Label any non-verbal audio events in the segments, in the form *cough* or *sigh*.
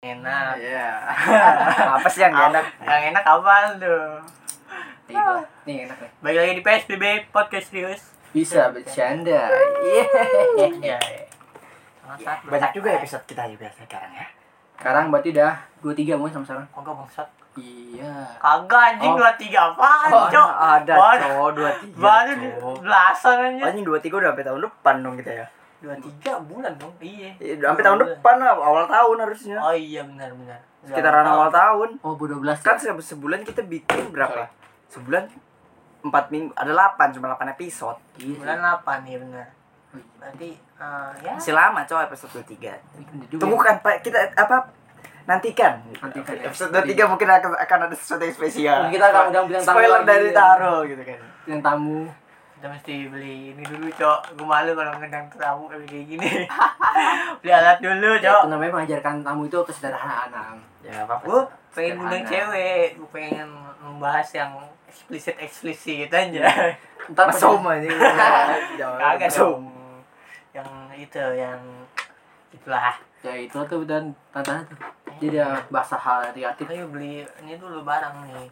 enak Iya. *laughs* apa sih yang gak enak yang enak apa tuh Tiba. nih enak nih balik lagi di PSBB podcast serius Iya. bisa bercanda iya ya bangsat Banyak juga episode kita juga sekarang ya. sekarang berarti dah dua tiga mungkin sama sekarang kagak bangsat iya kagak anjing Oh. dua tiga apaan Oh, cok ada Iya, Baru- cowok dua tiga. *laughs* baru di- cowok. belasan Iya. aja Anjing dua tiga udah sampai tahun depan dong kita ya. dua tiga bulan dong iya Iya, udah Sampai tahun depan lah, awal tahun harusnya. oh iya benar benar Sekitaran awal tahun. oh bu dua belas Kan se- sebulan kita bikin berapa? ya? Sebulan empat minggu ada 8 cuma 8 episode bulan delapan ya benar berarti eh, ya masih lama coy episode 23 Iya. kan tunggu tunggukan pak kita apa nantikan Nantikan, ya. episode 23 mungkin akan, akan ada sesuatu yang spesial Mungkin kita akan undang bintang tamu spoiler lagi, dari ya. Taro gitu kan yang tamu kita mesti beli ini dulu cok gue malu kalau ngedang tamu kayak gini *laughs* beli alat dulu cok itu namanya mengajarkan tamu itu kesederhanaan Am. ya apa gue pengen ngundang Sederhana. cewek gue pengen membahas yang eksplisit eksplisit gitu Iya. aja ntar Mas pas- Om aja *laughs* Iya. kagak dong yang itu yang itulah ya itu tuh dan tantangan tuh jadi ya, bahasa hal kreatif ayo beli ini dulu barang nih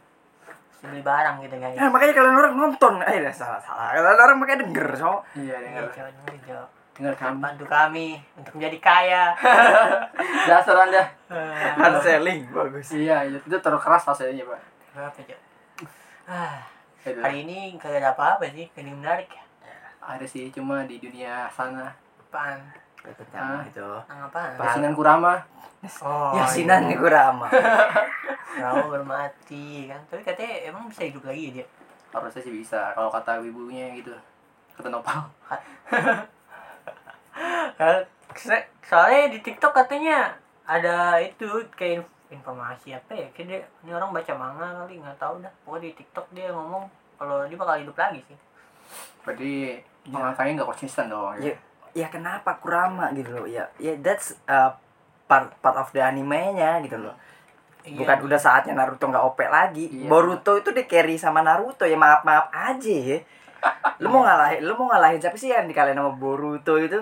Mesti beli barang gitu guys Iya. Nah, makanya kalian orang nonton eh dah, salah salah kalian orang makanya denger so iya Iya, dengar cewek dulu, cok. dengar kan? kami bantu kami untuk menjadi kaya Iya. dasar anda Eh, hard selling bagus iya itu itu terlalu keras rasanya pak apa cok ah, Aduh, hari ini kagak ada apa-apa sih ini menarik ya ada sih cuma di dunia sana apaan tentang itu Tentang apaan Yasinan Kurama oh Yasinan iya. Ya Nikurama Rawa bermati kan tapi katanya emang bisa hidup lagi ya dia harusnya sih bisa kalau kata ibunya gitu kata Nopal Eh, se- soalnya di TikTok katanya ada itu kayak inf- informasi apa ya kayak dia, ini orang baca manga kali nggak tahu dah pokoknya di TikTok dia ngomong kalau dia bakal hidup lagi sih berarti pengangkatannya nggak konsisten dong ya, ya kenapa Kurama gitu loh ya ya that's uh, part part of the animenya gitu loh Iya. bukan udah saatnya Naruto nggak OP lagi Iya. Boruto itu di carry sama Naruto ya maaf maaf aja ya lu mau ngalahin lu mau ngalahin siapa sih yang dikalahin sama Boruto itu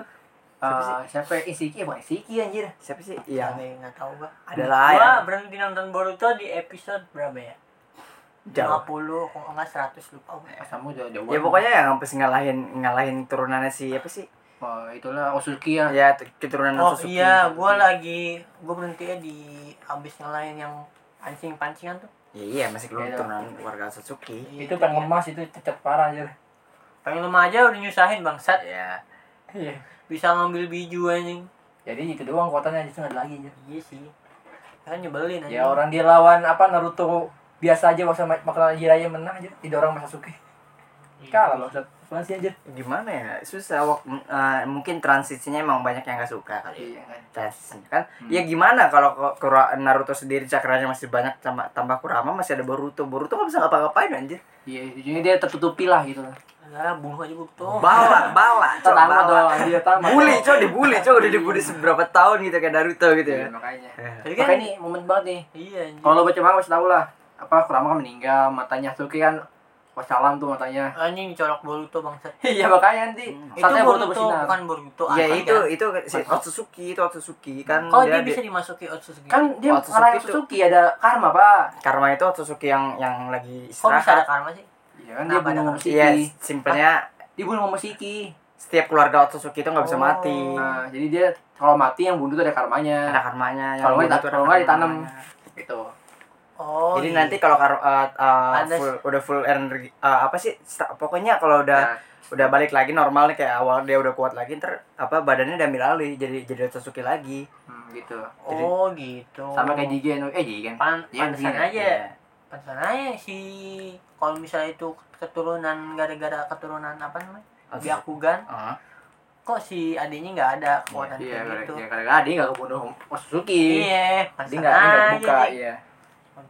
siapa sih Eh, siapa Isiki bukan Isiki anjir siapa sih Iya, ya yang nggak tahu Iya, gua adalah gua yang berhenti nonton Boruto di episode berapa ya jauh 50 kalau nggak 100 lupa gua. pas kamu jauh jauh ya pokoknya yang sampai ngalahin ngalahin turunannya si apa sih Oh, itulah Osuki ya ya t- keturunan oh Sasuke iya gua lagi gua berhenti ya di abis ngalahin yang pancing-pancingan tuh Ya, iya masih belum Iya. keturunan warga Sasuke Iya, emas itu cecep parah ya. anjir pengen lemah aja udah nyusahin bangsat ya iya bisa ngambil biju anjing jadi itu doang kuatannya aja nggak ada lagi aja Iya sih. Kan nyebelin aja. Ya, orang dia lawan apa Naruto biasa aja waktu makanan Jiraiya menang aja tidak orang Masasuke loh apaan sih anjir gimana ya susah wak- m- eh, mungkin transisinya emang banyak yang nggak suka kali iya kan transisinya kan Hmm. ya gimana kalau Ko- Kura- Naruto sendiri cakranya masih banyak tambah tambah Kurama masih ada Boruto Boruto nggak bisa ngapa-ngapain anjir iya jadi dia tertutupi lah gitu Lah bunuh Ah, aja gue tuh. bala bala *laughs* coba tamat bala dong dia tamat bully cow dibully cow udah dibully seberapa tahun gitu kayak Naruto gitu Iya, ya makanya Tapi kan makanya ini momen banget nih iya anjing. kalau lo baca manga pasti tau lah apa Kurama kan meninggal matanya Sasuke kan wassalam tuh matanya *laughs* anjing corok Boruto bangsat. iya makanya nanti Hmm. Itu saatnya Boruto, Boruto Iya, bersinar nah. bukan Boruto. ya apa itu itu si Otsutsuki itu Otsutsuki kan Iya. Kalau dia bisa dimasuki Otsutsuki. kan dia Waktu ngarahin Sasuke Sasuke ada karma pak karma itu Otsutsuki yang yang lagi kok bisa ada istirahat karma sih? iya kan dia Kenapa ada bunuh karma? Momoshiki iya simpelnya dia bunuh Momoshiki setiap keluarga Otsutsuki itu nggak bisa Oh. mati nah jadi dia kalau mati yang bunuh tuh ada ada karmanya karmanya yang Kalau nggak Boruto dita- ada kalau nggak ditanam. karmanya. Nah. gitu Oh. Jadi iya. nanti kalau kar- uh, uh, Ada full, udah full energi uh, apa sih? sta- Pokoknya kalau Ya. udah nah, udah balik lagi normal nih kayak awal dia udah kuat lagi ntar apa badannya udah ambil alih jadi jadi Otsutsuki lagi. hmm, gitu Oh gitu. sama kayak Jigen eh Jigen Pan Iya, pantesan iya. aja. Pantesan aja si kalau misalnya itu keturunan gara-gara keturunan apa namanya? Otsutsuki. Byakugan. Heeh. kok Kok si adiknya nggak ada kekuatan iya kayak gitu? karena karena dia nggak kebunuh Momoshiki Iya, dia pantesan nggak dia nggak aja buka sih. iya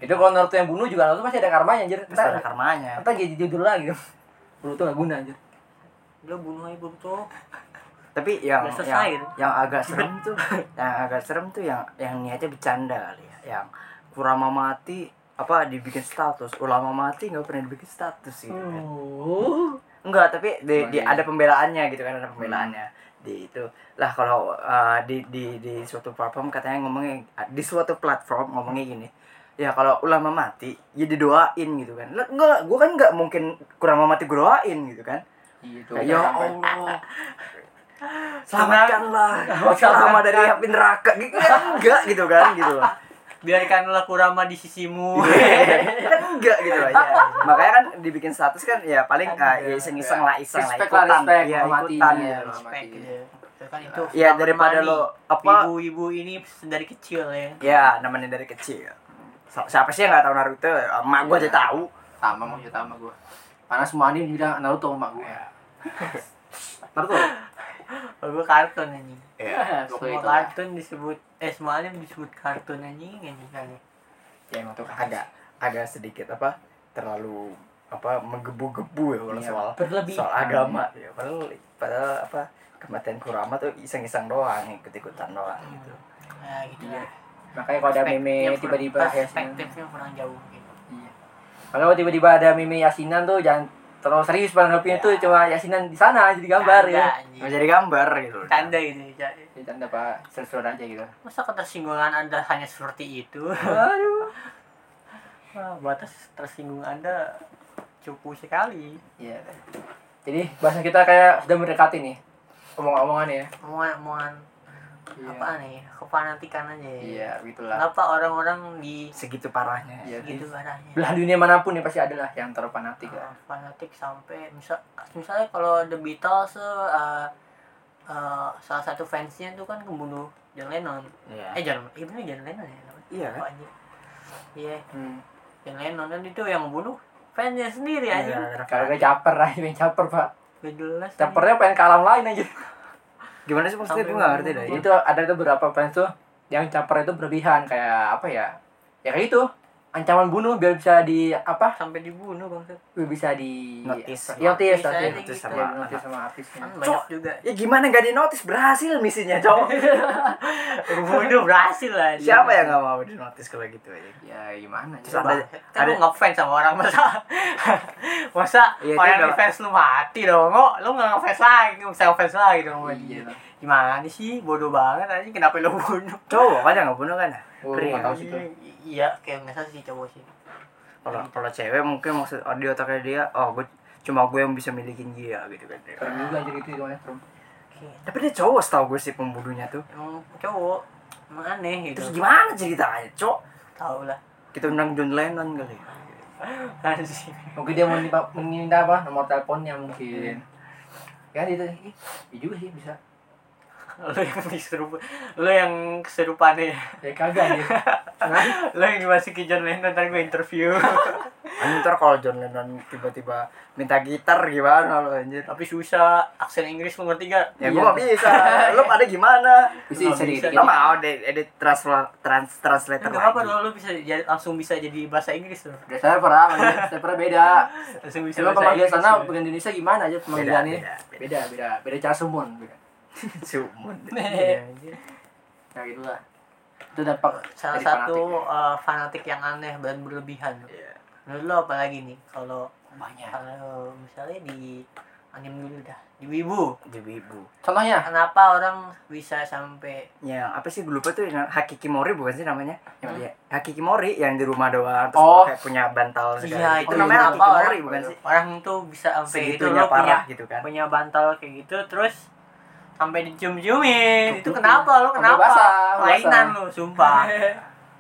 itu kalau Naruto yang bunuh juga Naruto pasti ada karmanya anjir Terus ada ntar karmanya. ntar jadi judul lagi *laughs* Naruto nggak guna anjir Lu bunuh aja Boruto. Iya. Tapi yang Udah yang, selesai gitu. yang agak serem tuh, *laughs* yang agak serem tuh yang yang niatnya bercanda kali ya. Yang Kurama mati apa dibikin status, ulama mati nggak pernah dibikin status gitu. kan. Oh. Enggak, tapi di, di- Bagi- Hmm. ada pembelaannya gitu kan, ada pembelaannya. di itu lah kalau uh, di di di suatu platform katanya ngomongnya di suatu platform ngomongnya gini ya kalau ulama mati ya didoain gitu kan lah enggak gue kan nggak mungkin kurang mati gue doain gitu kan Gitu. ya Allah selamatkanlah selama dari api neraka gitu kan enggak gitu kan gitu *laughs* loh biarkanlah kurama di sisimu Iya, kan enggak gitu loh ya. makanya kan dibikin status kan ya paling ah, ya iseng-iseng lah iseng lah Respect lah, ikutan respect ya sama ikutan matinya. gitu loh. Respect gitu. kan itu ya daripada lo apa ibu-ibu ini dari kecil ya ya namanya dari kecil Si- siapa sih yang nggak tahu Naruto emak gue aja tahu Tama mau ya Tama gue. Karena semua anime bilang Naruto sama gue. Naruto. kalau gue kartun anjing So, semua itu lah. kartun disebut eh semua anime disebut kartun anjing anjing kan ya emang tuh agak agak sedikit apa terlalu apa menggebu-gebu ya kalau Iya, soal berlebih soal agama ya padahal padahal apa kematian Kurama tuh iseng-iseng doang ikut-ikutan doang gitu ya gitu Iya. lah Makanya kalau ada meme Perspektifnya tiba-tiba kurang- Yasinan. perspektifnya kurang jauh gitu Iya. Kalau tiba-tiba ada meme Yasinan tuh jangan terlalu serius Ya. banget itu cuma Yasinan di sana jadi gambar ya. Tanda, anjing. nggak jadi gambar gitu loh tanda gitu ya. Ya, Tanda Pak, seru aja gitu. masa ketersinggungan anda hanya seperti *laughs* itu Aduh. Wah, batas tersinggung anda cukup sekali Iya. Jadi bahasan kita kayak sudah mendekati nih omong-omongan ya. omongan omongan apa nih kefanatikan ya? aja ya Iya, begitulah. kenapa orang-orang di segitu parahnya Iya, gitu arahnya belahan dunia manapun ya pasti ada lah yang terfanatik ya. Ah. Uh, fanatik sampai misal misalnya kalau The Beatles tuh uh, uh, salah satu fansnya tuh kan kebunuh John Lennon Iya. eh John eh bener John Lennon ya namanya? iya Oh, kan anjir. iya Hmm. John Lennon kan itu yang bunuh fansnya sendiri Iya, aja gara-gara Kalau fanatik. gak caper lah, *laughs* pengen caper pak. gak jelas Capernya pengen kalam lain aja. gimana sih maksudnya Sampai gue nggak ngerti dah ngomong. ini itu ada itu beberapa fans tuh yang caper itu berlebihan kayak apa ya? Ya kayak itu ancaman bunuh biar bisa di apa? sampai dibunuh bang Biar bisa di Notice. Ya, Notice notice, notice, aja notice gitu. sama, Iya, notice notice sama artisnya. kan Cok. banyak juga *laughs* ya gimana gak di notice berhasil misinya *laughs* cowok bunuh berhasil lah anjing. siapa yang nggak mau di notice kalau gitu aja Ya gimana? Terus Coba. ada kan lu Ada- ngefans sama orang masa *laughs* masa Iya, itu orang udah- di fans lu mati dong kok lu nggak ngefans lagi nggak bisa ngefans lagi dong sama dia Iya. gimana sih bodoh banget aja kenapa lu bunuh cowok kan yang nggak bunuh kan ya? Oh, Pria. nggak tahu sih tuh. I- iya kayak nggak salah sih cowok sih kalau kalau cewek mungkin maksud oh, di otaknya dia oh gue cuma gue yang bisa milikin dia gitu kan Keren juga anjir itu gimana, Trum? Kayak- tapi dia cowok setahu gue sih pembunuhnya tuh emang cowok emang aneh terus gitu gimana ceritanya cowok tau lah *laughs* kita undang John Lennon kali ya. anjing Mungkin dia mau minta, meminta apa? Nomor teleponnya mungkin. Ya itu. Ih, Iya juga sih bisa. lu yang diserup lu yang keserupan ya Ya kagak anjir. Sengaja. lu yang dimasukin John Lennon ntar gue interview anjir ntar kalau John Lennon tiba-tiba minta gitar gimana lo anjir tapi susah aksen Inggris lu ngerti gak Iya. ya gue gak bisa lo pada gimana Bisa bisa dikit. lo mau deh edit transla- trans translator Iya. Nggak apa-apa lagi. dong, lu bisa jadi, langsung bisa jadi bahasa Inggris loh. Udah saya pernah, anjir. saya pernah beda. Langsung bisa Coba bahasa pemanggilan Inggris. sana loh. bukan Indonesia gimana aja beda pemanggilannya? ya. beda beda Beda, beda, beda cara sumun. Beda. Sumun. *laughs* *laughs* Iya, anjir. Nah gitu lah. Itu dampak Salah dari satu fanatik. uh, fanatik yang aneh dan berlebihan. Iya. Menurut lo apa lagi nih kalau banyak. kalau misalnya di anime dulu dah, di Wibu. Jibibu. Contohnya Kenapa orang bisa sampai Ya, apa sih gue lupa tuh yang Hakiki Mori bukan sih namanya? Yang Ya, Hakiki Mori yang di rumah doang terus Oh. kayak punya bantal segala Iya, gitu. itu namanya kenapa Hakiki Mori orang- bukan sih? orang tuh bisa sampai itu Segitunya lo parah punya gitu kan. punya bantal kayak gitu terus sampai dicium-ciumin. Itu Tuh, ya. kenapa lu sampai kenapa? basah, Lainan basah. lu, *laughs* sumpah.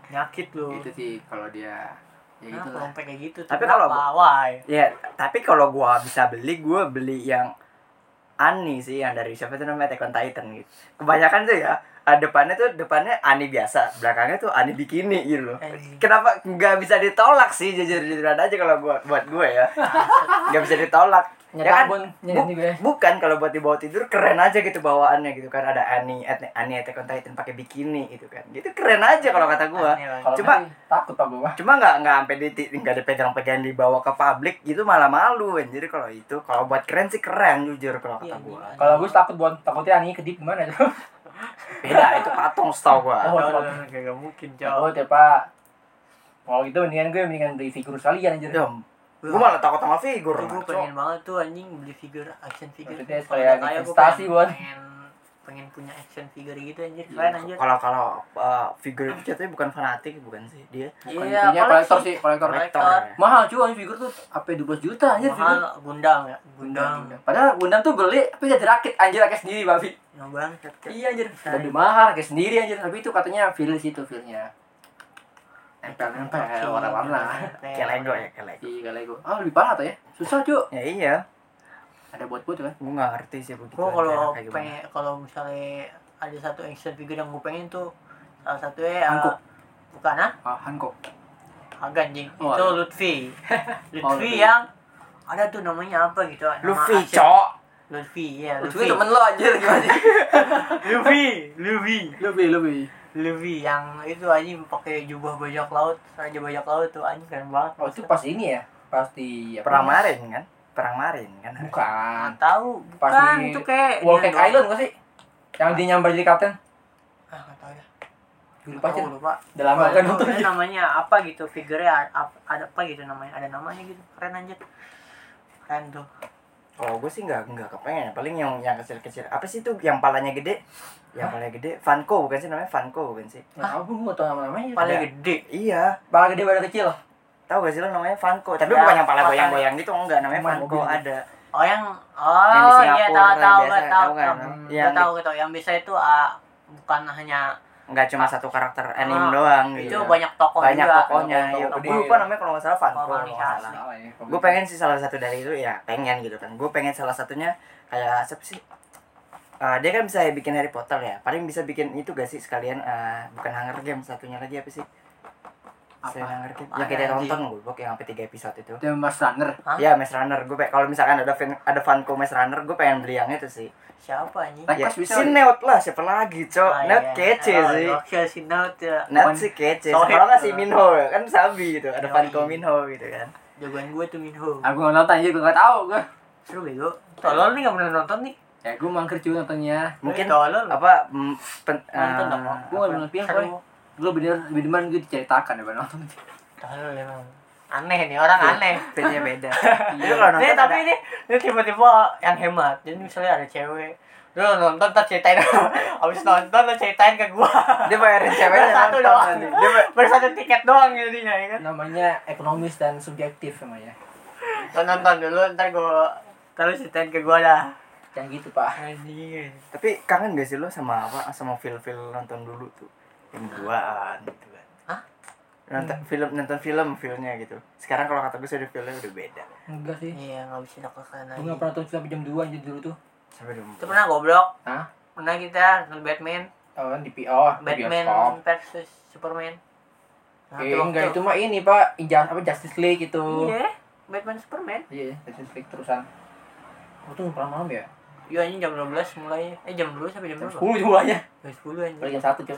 Nyakit lu. itu sih kalau dia ya gitu Kenapa lah. sampai kayak gitu? Gitu, Tapi kalau- bawah Ya, tapi kalau gua bisa beli, gua beli yang Ani sih yang dari siapa tuh namanya Attack on Titan gitu. Kebanyakan tuh ya, ah, depannya tuh depannya Ani biasa, belakangnya tuh Ani bikini gitu loh. Anjing. Kenapa nggak bisa ditolak sih jujur-jujuran aja kalau gua buat gua *laughs* ya. Nggak bisa ditolak. Nyata kan? pun Bu- nyetir gue. bukan kalau buat dibawa tidur keren aja gitu bawaannya gitu kan ada Ani At- Ani Attack on Titan pakai bikini gitu kan gitu keren aja kalau kata gua Kalau Coba. nanti takut pak gua. cuma nggak nggak sampai di nggak dipegang-pegang dibawa ke publik gitu malah malu anjir kalau itu kalau buat keren sih keren jujur kalau kata gua Kalau gue takut buat takutnya ani kedip gimana tuh? beda itu patung setahu gua Oh, Kalau nggak mungkin jauh. Takut ya pak. Kalau gitu mendingan gue mendingan beli figur sekalian anjir. Ya, gua malah takut sama figur Tuh gue maco. pengen banget tuh anjing beli figur action figure. Maksudnya Kalau udah kayak kaya, gua investasi Iya, pengen- buat- pengen pengen punya action figure gitu anjir keren anjir Kalau kalau uh, figure itu jatuhnya bukan fanatik bukan sih dia Bukan, Iya, intinya koleksi. kolektor sih, Iya. kolektor. Kolektor. Mahal cuy anjing figur tuh sampai 12 juta anjir mahal figur. gundam ya gundam Padahal Gundam tuh beli tapi jadi rakit anjir rakit sendiri babi. yang banget Iya anjir. Sayang. Lebih mahal kayak sendiri anjir, tapi itu katanya feel sih itu feelnya. Nempel-nempel warna-warna. Kayak Lego ya kayak Lego. Iya Lego. Ah lebih parah tuh ya. Susah cuy. Ya iya, Ada buat-buat kan. gue nggak ngerti sih gitu begitu. gue kalau pengen kalau misalnya ada satu action figure yang gue pengen tuh salah satunya eh, Hankook. bukan ah Ah Hancock. ah, ganjing Oh, itu ada. *laughs* Lutfi Lutfi Lutfi. yang ada tuh namanya apa gitu nama Luffy, action- cok. Lutfi ya Lu Lutfi juga temen lo anjir gimana? Luffy Luffy Lebih lebih. Luffy yang itu anjing pakai jubah bajak laut raja bajak laut tuh anjing keren banget Oh itu pas ini ya. Pasti ya. Perang Marin kan? Perang Marin kan? Bukan. Nggak tahu Pas bukan di itu kayak Wall dia Cake doang. Island gak sih? Yang dia nyambar jadi kapten. ah nggak tahu ya Lupa Tahu, aja. lupa Udah lama Apa kan nonton. itu namanya apa gitu figurnya a- ap- ada apa gitu namanya ada namanya gitu keren anjir keren tuh Kalau gue sih nggak nggak kepengen. Paling yang yang kecil-kecil. Apa sih tuh yang palanya gede? Yang palanya gede? Funko bukan sih namanya? Funko bukan sih? Nah, aku gak tau nama-namanya. paling Ada. gede Iya. Pala gede pada kecil. Tahu gak sih lo namanya Funko? Tapi Ya, bukan yang pala makanya. goyang-goyang gitu enggak namanya Cuma Funko mobil. ada. oh yang Yang di oh iya Singapura tahu tahu biasa, gak tahu tahu kan? Hmm, Yang gak tahu gitu yang bisa itu ah, bukan hanya Nggak cuma satu karakter anime Ah, doang itu gitu. banyak tokoh Banyak juga tokohnya. Tokoh- Iya, tokoh gue gede. lupa namanya kalau nggak salah Funko. Tokoh kalau nggak salah. Salah ya. gue pengen sih salah satu dari itu ya pengen gitu kan gue pengen salah satunya kayak siapa sih Eh, dia kan bisa bikin Harry Potter ya paling bisa bikin itu gak sih sekalian eh, bukan Hunger Games satunya lagi apa sih Apa? Selain Hunger Games Apa yang kita lagi? tonton gue yang sampai tiga episode itu The Master Runner. Hah? ya Maze Runner gue pengen kalau misalkan ada fan ada fanko Maze Runner gue pengen beli yang itu sih siapa anjing ya Request bisa. si Neot lah siapa lagi cok Ah, Neot iya. kece Oh, sih gokil si Neot ya. Neot Cuman- sih kece Sohib. kalau nggak si Minho kan sabi gitu ada Yoi. fanko Minho gitu kan jagoan gue tuh Minho Aku gak nonton aja, gue gak tau gue seru gitu. bego tolol nih gak pernah nonton nih Ya gue mangker cuy nontonnya mungkin Eh, tolol apa mm, pen, Nonton dong, eh, Gue gak nonton film coy Seru. Gue bener, lebih demen gue diceritakan ya, daripada nonton tolol emang aneh nih orang aneh Bedanya *laughs* beda. Iya. Lu kalau Ini nonton tapi ada- ini ini tiba-tiba yang hemat. Jadi misalnya ada cewek, lu nonton ntar ceritain *laughs* Abis nonton lu ceritain ke gua *laughs* dia bayarin ceweknya Baru satu nonton doang. nanti. Dia ba- Baru satu tiket doang jadinya ya kan *laughs* Namanya ekonomis dan subjektif namanya Lu nonton dulu ntar gua Ntar lu ceritain ke gua lah Jangan gitu pak Anjing *laughs* tapi kangen gak sih lo sama apa sama film-film nonton dulu tuh yang duaan gitu kan. Hah? Nonton film nonton film filmnya gitu. Sekarang kalau kata gue sudah filmnya udah beda. Enggak sih Iya gak bisa dilakukan Gue lagi gak pernah nonton film sampai jam 2 aja dulu tuh Sampai dulu. Itu pernah goblok Hah? Pernah kita nonton Batman Oh kan di PO Batman versus Superman Nah, Eh itu waktu- enggak itu mah ini pak Inja- apa Justice League gitu Iya Batman Superman Iya Justice League terusan Oh tuh pulang malam ya? Iya anjing jam 12 mulai Eh jam 12 sampai jam Jam berapa? 10 jumlahnya Jam 10 anjing Paling jam 1 cuy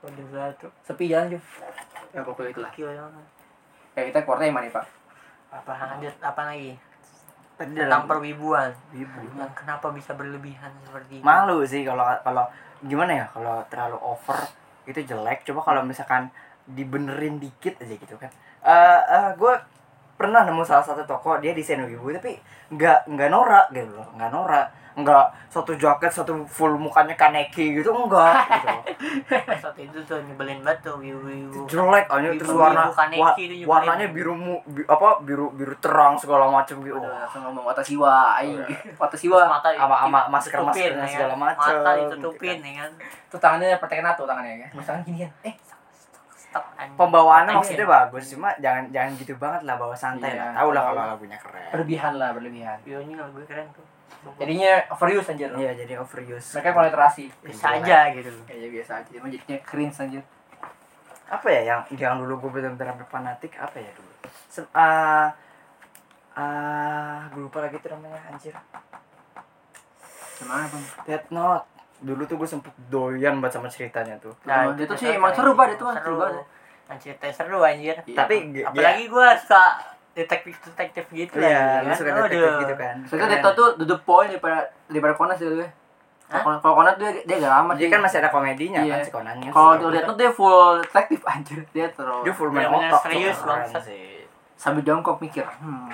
Oh, jam 1 Sepi jalan cuy Ya pokoknya itulah Gokil banget. Ya kita keluarnya yang mana nih pak? apa lanjut apa lagi Tadi tentang perwibuan ibu. yang kenapa bisa berlebihan seperti itu Malu sih kalau kalau gimana ya kalau terlalu over itu jelek. Coba kalau misalkan dibenerin dikit aja gitu kan. Eh eh, gue pernah nemu salah satu toko dia desain wibu tapi nggak nggak norak gitu loh nggak norak nggak satu jaket satu full mukanya kaneki gitu enggak gitu *laughs* loh. saat itu tuh nyebelin banget tuh wibu Itu jelek anjir terus Ibu-ibu warna kaneki wa- itu juga warnanya ibu. biru mu, bi- apa biru biru terang segala macem gitu Udah oh, langsung ngomong watasiwa, aing. *laughs* Watasiwa. mata Ama- ditutupin, ama masker-maskernya ya kan. segala macem, mata gitu ditutupin ya kan Tuh tangannya praktekin nato tangannya ya. Mas tangan gini kan. Eh, Stuck, anjing. ya. pembawaannya Matanya maksudnya bagus cuma jangan jangan gitu banget lah bawa santai Iya. lah tau lah kalau lagunya keren berlebihan lah, berlebihan. iya ini lagu keren tuh Jadinya overuse anjir. iya jadi overuse Mereka koliterasi. bisa aja gitu loh Kayaknya iya, biasa aja, cuma jadinya cringe anjir. apa ya yang yang dulu gue benar-benar sampai fanatik apa ya dulu Se ah ah, gue lupa lagi tuh namanya anjir Gimana, Bang? Death Note dulu tuh gue sempet doyan banget sama ceritanya tuh Nah, itu sih emang seru banget itu mah, seru banget. Kan ceritanya seru anjir Iya. tapi g- apalagi gua suka detektif detektif gitu dia, iya ya lu suka Aduh. detektif gitu kan Soalnya Keren. Deto tuh to the point daripada daripada Conan sih gue. Hah? ya. Kalau kalau Conan dia dia agak lama dia kan masih ada komedinya Iya. kan si Conannya Kalau Sih. di Deto dia full detektif anjir. Dia dia terus full main Bener-bener otak serius, tuh, keren bangsat. sih. sambil jongkok mikir. Hmm.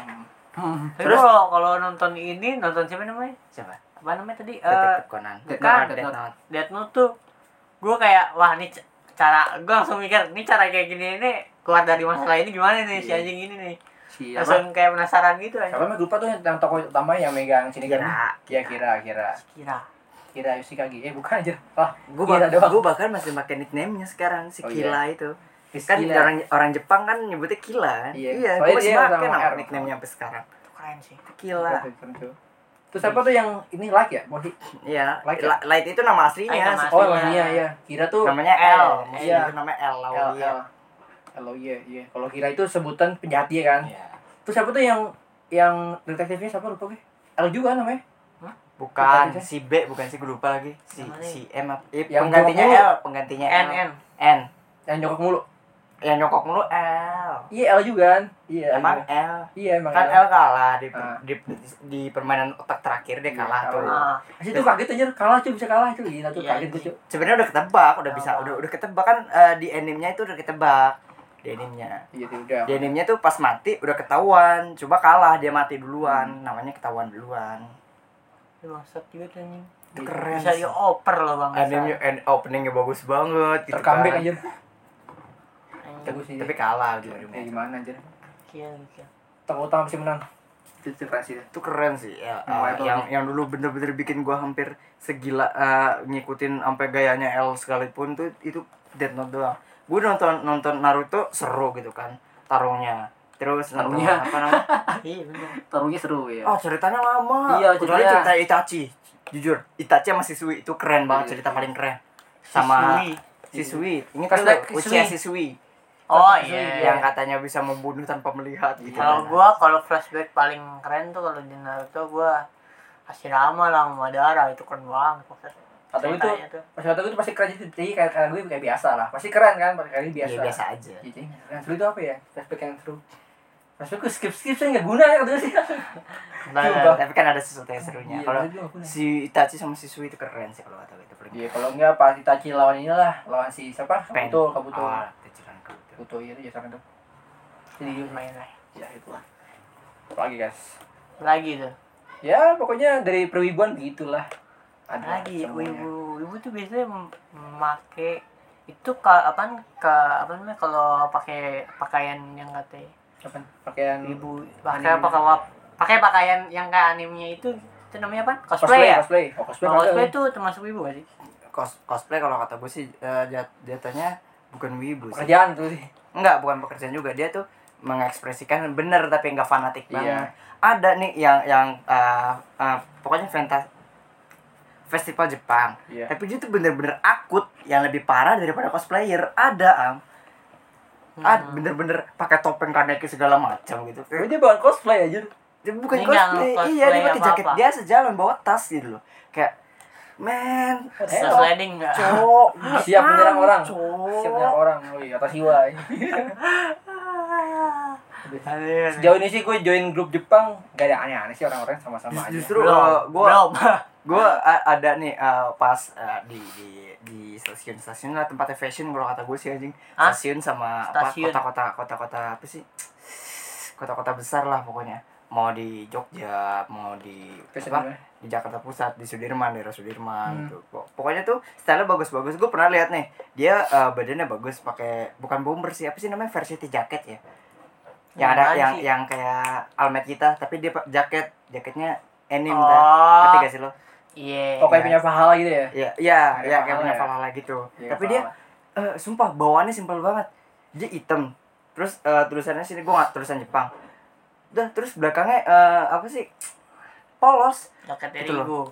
Hmm. Tapi kalau kalau nonton ini nonton siapa namanya siapa apa namanya tadi Eh, Detektif Conan. bukan, Bukan, Death Death Note. Note. Death Note tuh gue kayak wah nih c- cara gue langsung mikir nih cara kayak gini ini keluar dari masalah ini gimana nih si Iya. anjing ini nih siapa Iya, langsung kayak penasaran gitu siapa anjing emang lupa tuh yang tokoh utama yang megang sini kan Kira. ya kira kira kira kira Yoshikage eh bukan aja lah Gue Kira doang. bahkan masih pakai nickname-nya sekarang si Oh, iya. Kila itu. Kan Kira. orang orang Jepang kan nyebutnya Kila. Iya. Iya, Soalnya gue masih dia pakai sama nama R. nickname-nya sampai sekarang. Itu keren sih Kila. Keren tuh. terus apa tuh yang ini like ya Modi Iya, Light Light, ya? Light itu nama Light aslinya. nama oh Aslinya. iya iya kira tuh Namanya L, maksudnya Iya. itu namanya L L Oh, iya. Lawalia. L L iya iya kalau kira itu sebutan penjahat dia kan Iya. terus siapa tuh yang yang detektifnya siapa lupa gue L juga kan namanya Bukan Bukan, si B, bukan si gue lupa lagi. Si Yang mana si M apa? Eh, Yang penggantinya gua mulu. L, penggantinya N L. N N. yang jongkok mulu Yang nyokok mulu L. iya L juga kan iya Emang iya. L. iya emang Kan L kalah di, Ah. di, di permainan otak terakhir dia Iya, kalah tuh. kalah. ah Masih tuh kaget aja kalah cuy bisa kalah cuy gila tuh Iya, kaget gue cuy. Sebenarnya udah ketebak, udah bisa, Kalah. udah udah ketebak kan eh, di animenya itu udah ketebak. Di animenya. Iya tuh udah. Di animenya tuh pas mati udah ketahuan, coba kalah dia mati duluan, namanya ketahuan duluan. Gitu. lu bangsat juga tuh anjing Itu Iya. keren. bisa sih. dioper loh bang Animenya and openingnya bagus banget gitu Terkambek kan. aja. Anjing, Bagus sih. Tapi kalah gitu. ya gimana aja. gila, gila. Tokoh utama masih menang. Itu tuh keren sih. itu keren sih ya, Hmm, eh, itu yang yang dulu bener-bener bikin gua hampir segila eh, ngikutin sampai gayanya L sekalipun tuh itu Death Note doang gue nonton nonton Naruto seru gitu kan tarungnya terus nonton Tarungnya. apa namanya iya bener Tarungnya seru ya. oh ceritanya lama Iya, kecuali ceritanya. cerita Itachi jujur Itachi sama Shisui itu keren banget Iya. cerita paling keren sama Sisui. Shisui ini Pas kan lagi Uchiha Shisui. Shisui oh Sisui, iya yang katanya bisa membunuh tanpa melihat gitu kalau kan. gua kalau flashback paling keren tuh kalau di Naruto gua Hashirama lah sama Madara itu keren banget maksud Atau itu ceritanya tuh pas waktu itu pasti keren jadi jadi kayak kayak gue kayak biasa lah. Pasti keren kan pakai kali ya biasa. biasa aja Jadi yang seru itu apa ya? Flashback yang seru. Flashback gue skip skip sih nggak guna ya katanya sih. *laughs* Nah, Coba. tapi kan ada sesuatu yang serunya. Iya, Kalau itu nggak guna. si Itachi sama si Sui itu keren sih kalau kata gue, itu pergi. Iya kalau enggak pas Itachi lawan inilah lawan si siapa? Pen. Kabuto, Kabuto. Ah, kecilan Kabuto. Kabuto iya itu ya sama tuh. Jadi main lah ya itulah. Lagi guys. lagi tuh ya pokoknya dari perwibuan begitulah ada lagi semuanya. ibu ibu tuh biasanya mem- memakai itu ka, apaan ka, apa namanya kalau pakai pakaian yang katanya apa pakaian ibu pakai pakai wap- pakai pakaian yang kayak animenya itu itu namanya apa cosplay, ya cosplay oh, cosplay, Kalau cosplay cosplay itu termasuk ibu gak sih Cos- cosplay kalau kata gue sih eh, jat- jatuhnya bukan wibu sih. pekerjaan tuh sih Enggak, bukan pekerjaan juga. Dia tuh mengekspresikan bener tapi enggak fanatik banget. Iya. Ada nih yang yang eh, eh, pokoknya fantas festival Jepang. Iya. Tapi dia tuh bener-bener akut yang lebih parah daripada cosplayer. Ada, Am. Hmm. Ad, bener-bener pakai topeng kaneki segala macam gitu. tapi dia bukan cosplay aja Dia bukan Ini nggak cosplay, cosplay iya dia pakai apa-apa. jaket biasa jalan bawa tas gitu loh kayak men Bisa sliding nggak cowok *laughs* siap menyerang orang cowok siap menyerang orang woi atas jiwa *laughs* Ah. Iya, sejauh ini sih gue join grup Jepang gak ada aneh-aneh sih orang-orang sama-sama aja justru belum uh, gua *laughs* belum gua a- ada nih uh, pas uh, di di di stasiun stasiun lah tempatnya fashion kalau kata gue sih anjing Hah? stasiun sama Stasiun. apa kota-kota kota-kota apa sih kota-kota besar lah pokoknya mau di Jogja mau di Fashion apa, namanya. di Jakarta Pusat di Sudirman daerah Sudirman Hmm. gitu. Pok- pokoknya tuh style bagus-bagus gue pernah lihat nih dia eh, badannya bagus pakai bukan bomber sih apa sih namanya varsity jacket ya yang ada Apaan yang sih? yang kayak almet kita tapi dia pa- jaket jaketnya anime dah ngerti oh gak sih lo iya oh kayak punya pahala gitu ya ya ya Kayak ya kayak pahala punya ya? falala gitu Iya, tapi pahala. dia eh, sumpah bawaannya simpel banget dia hitam terus eh, tulisannya sini gue nggak tulisan Jepang udah terus belakangnya eh, apa sih polos jaket Itu loh. Erigo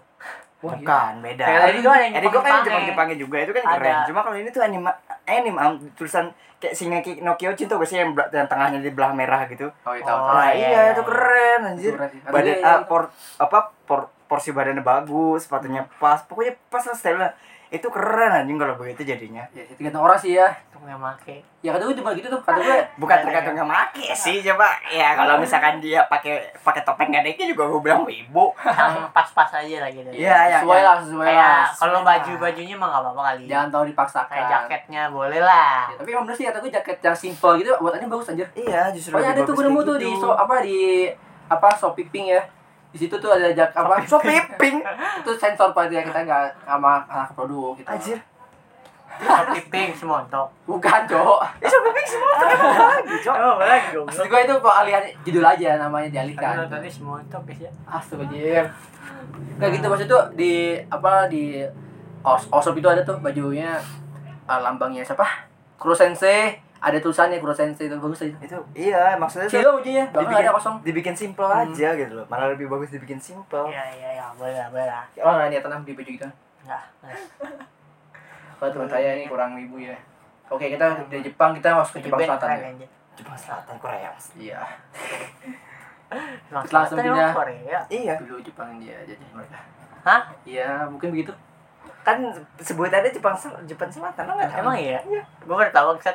Wah, iya. bukan beda Kayak Erigo ada yang Jadi gue kan Jepang Jepang-Jepangnya. Jepangnya juga itu kan Ada. keren. Cuma kalau ini tuh anime anime am, tulisan kayak Shingeki no Kyojin tuh biasanya yang, bela- yang tengahnya di belah merah gitu. oh iya tahu, tahu. Nah, iya, iya, iya. itu keren anjir. Keren sih. Tapi Badan iya, ah, iya. por- apa por- porsi badannya bagus, sepatunya pas, pokoknya pas lah style lah. Itu keren anjing kalau begitu jadinya. ya sih, tergantung orang sih ya itu nggak make ya kata gue cuma gitu tuh kata gue Bukan tergantung yang make sih coba. Ya kalau misalkan dia pakai pakai topeng gadeki juga gue bilang wibu. yang pas-pas aja lah gitu *laughs* Iya, iya, sesuai iya. lah sesuai lah kayak kalau baju bajunya mah nggak apa-apa kali jangan tahu dipaksakan kayak jaketnya boleh lah Ya, tapi emang bener sih kata gue jaket yang simple gitu buatannya bagus gitu. anjir Iya, justru Pokoknya ada lebih tuh bagus gue nemu kayak tuh di gitu. so, apa di apa shopee pink ya. di situ tuh ada jak apa So piping. itu sensor pada kita nggak sama anak produk gitu Anjir. Piping si montok. bukan cowok Eh, so piping semua ternyata apa *laughs* lagi, Cok? Oh, lagi maksud gue itu pengalihan judul aja namanya Kan dialihkan tadi si montok guys, ya. Astagfirullahaladzim Kayak gitu maksud tuh di apa di os osop itu ada tuh bajunya eh, lambangnya siapa? Kuro Sensei ada tulisannya Kuro Sensei itu bagus aja. Itu iya, maksudnya so, Kilo bajunya, bahkan nggak ada kosong. dibikin simple aja gitu loh. Malah lebih bagus dibikin simple. Iya, iya, iya, boleh lah, boleh lah. Orang Oh, nggak niatan beli baju gitu. Enggak. Kalau teman saya ini kurang ibu ya. Oke kita dari Jepang kita masuk ke Jepang Selatan ya. ya. Jepang Selatan Korea. Mas. Iya. Jepang Langsung Selatan pindah. emang Korea. Iya, Dulu Jepang dia jajah mereka. Hah? Iya mungkin begitu. kan sebutannya Jepang Sel Jepang Selatan lo nggak tahu? Emang iya? Gue baru tahu set.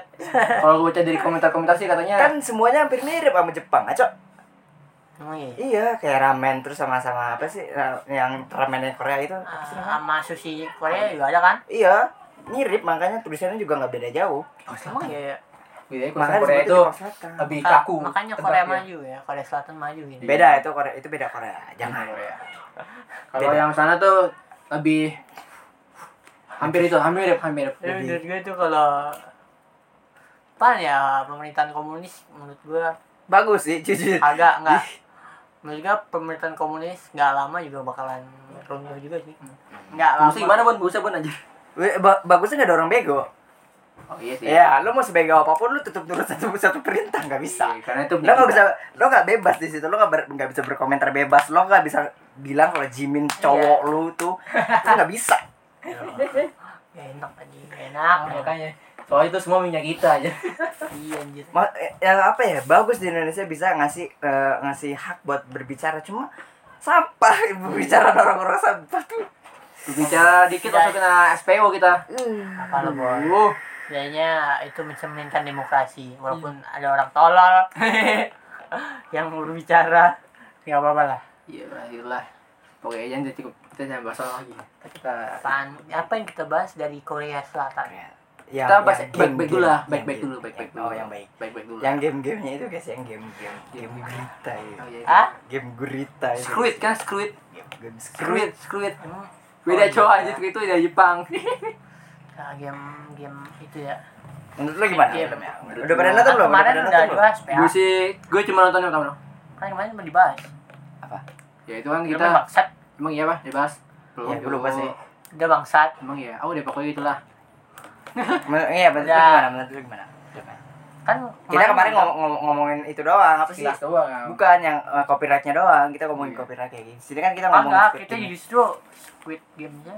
Kalau gue baca dari komentar-komentar sih katanya kan semuanya hampir mirip sama Jepang, Cok. Emang iya. Iya, kayak ramen terus sama-sama apa sih ra- yang ramennya Korea itu? Ah, Sama sushi Korea juga ada kan? Iya, mirip makanya tulisannya juga nggak beda jauh. Emang iya. ya? bedanya kalau Gitu Korea Makanya disebutnya Ah, itu Jepang Selatan. lebih kaku. Makanya tebak Korea dia. maju ya, Korea Selatan maju ini. Beda itu Korea, itu beda Korea. Jangan. Iya, Korea. Kalau Beda. yang sana tuh lebih hampir itu, hampir mirip, hampir mirip. Ya, menurut gue itu kalau pan ya pemerintahan komunis menurut gue Bagus sih, jujur. *laughs* Ah, agak nggak menurut gue pemerintahan komunis nggak lama juga bakalan runtuh juga sih nggak lama Maksudnya gimana bun? Busa bun aja. Weh, ba- bagusnya nggak ada orang bego. Oh iya sih. Ya, lo mau sebego apapun lo tutup nurut satu satu perintah nggak bisa. Iya, karena itu Lo nggak bisa, lo nggak bebas di situ. Lo nggak ber- nggak bisa berkomentar bebas. Lo nggak bisa bilang kalau Jimin Iya. cowok lo tuh, lo nggak bisa. Ya, enak aja enak ya. Iya, makanya. Soalnya itu semua minyak kita aja. iya anjir Ma- eh, yang apa ya bagus di Indonesia bisa ngasih eh, ngasih hak buat berbicara cuma sampah *laughs* berbicara orang-orang sampah tuh Bicara Iya. dikit langsung kena SPO kita. apa lo boy Uh, kayaknya itu mencerminkan demokrasi walaupun ada orang tolol *laughs* yang berbicara nggak apa-apa lah iya berakhirlah. Pokoknya jangan jadi cukup kita jangan bahas soal lagi. Kita Apaan- apa yang kita bahas dari Korea Selatan yang, kita bahas baik baik yang ya, game-game. dulu lah, baik Yang baik game- dulu, baik baik yang- dulu. oh yang baik baik baik dulu. yang game-gamenya itu guys yang game-game game Game-game. gurita ya Oh, iya. ah game gurita itu. Screw it kan, screw it, game screw screw it, screw it. emang- Beda Oh, cowok iya. aja itu dari *laughs* Jepang. Iya. Ah, game game itu ya menurut lo gimana Iya, Game. ya. filmnya? udah pada nonton belum kemarin pada udah nonton belum? dibahas PA Gue sih, gue cuma nonton yang pertama. doang. kan kemarin udah dibahas Ya itu kan kita kita, bangsat emang iya pak, dibahas. Ya, gue lupa sih. udah bangsat Emang ya, aku udah pokoknya itulah. Men- iya menurut lo Udah. Ya. gimana menurut lo gimana kan kita kemarin ngom- ngom- ngomongin itu doang apa sih doang. bukan yang eh, copyrightnya doang kita ngomongin Iya. copyright kayak gini sini kan kita ngomongin enggak script kita ini. justru Squid Game-nya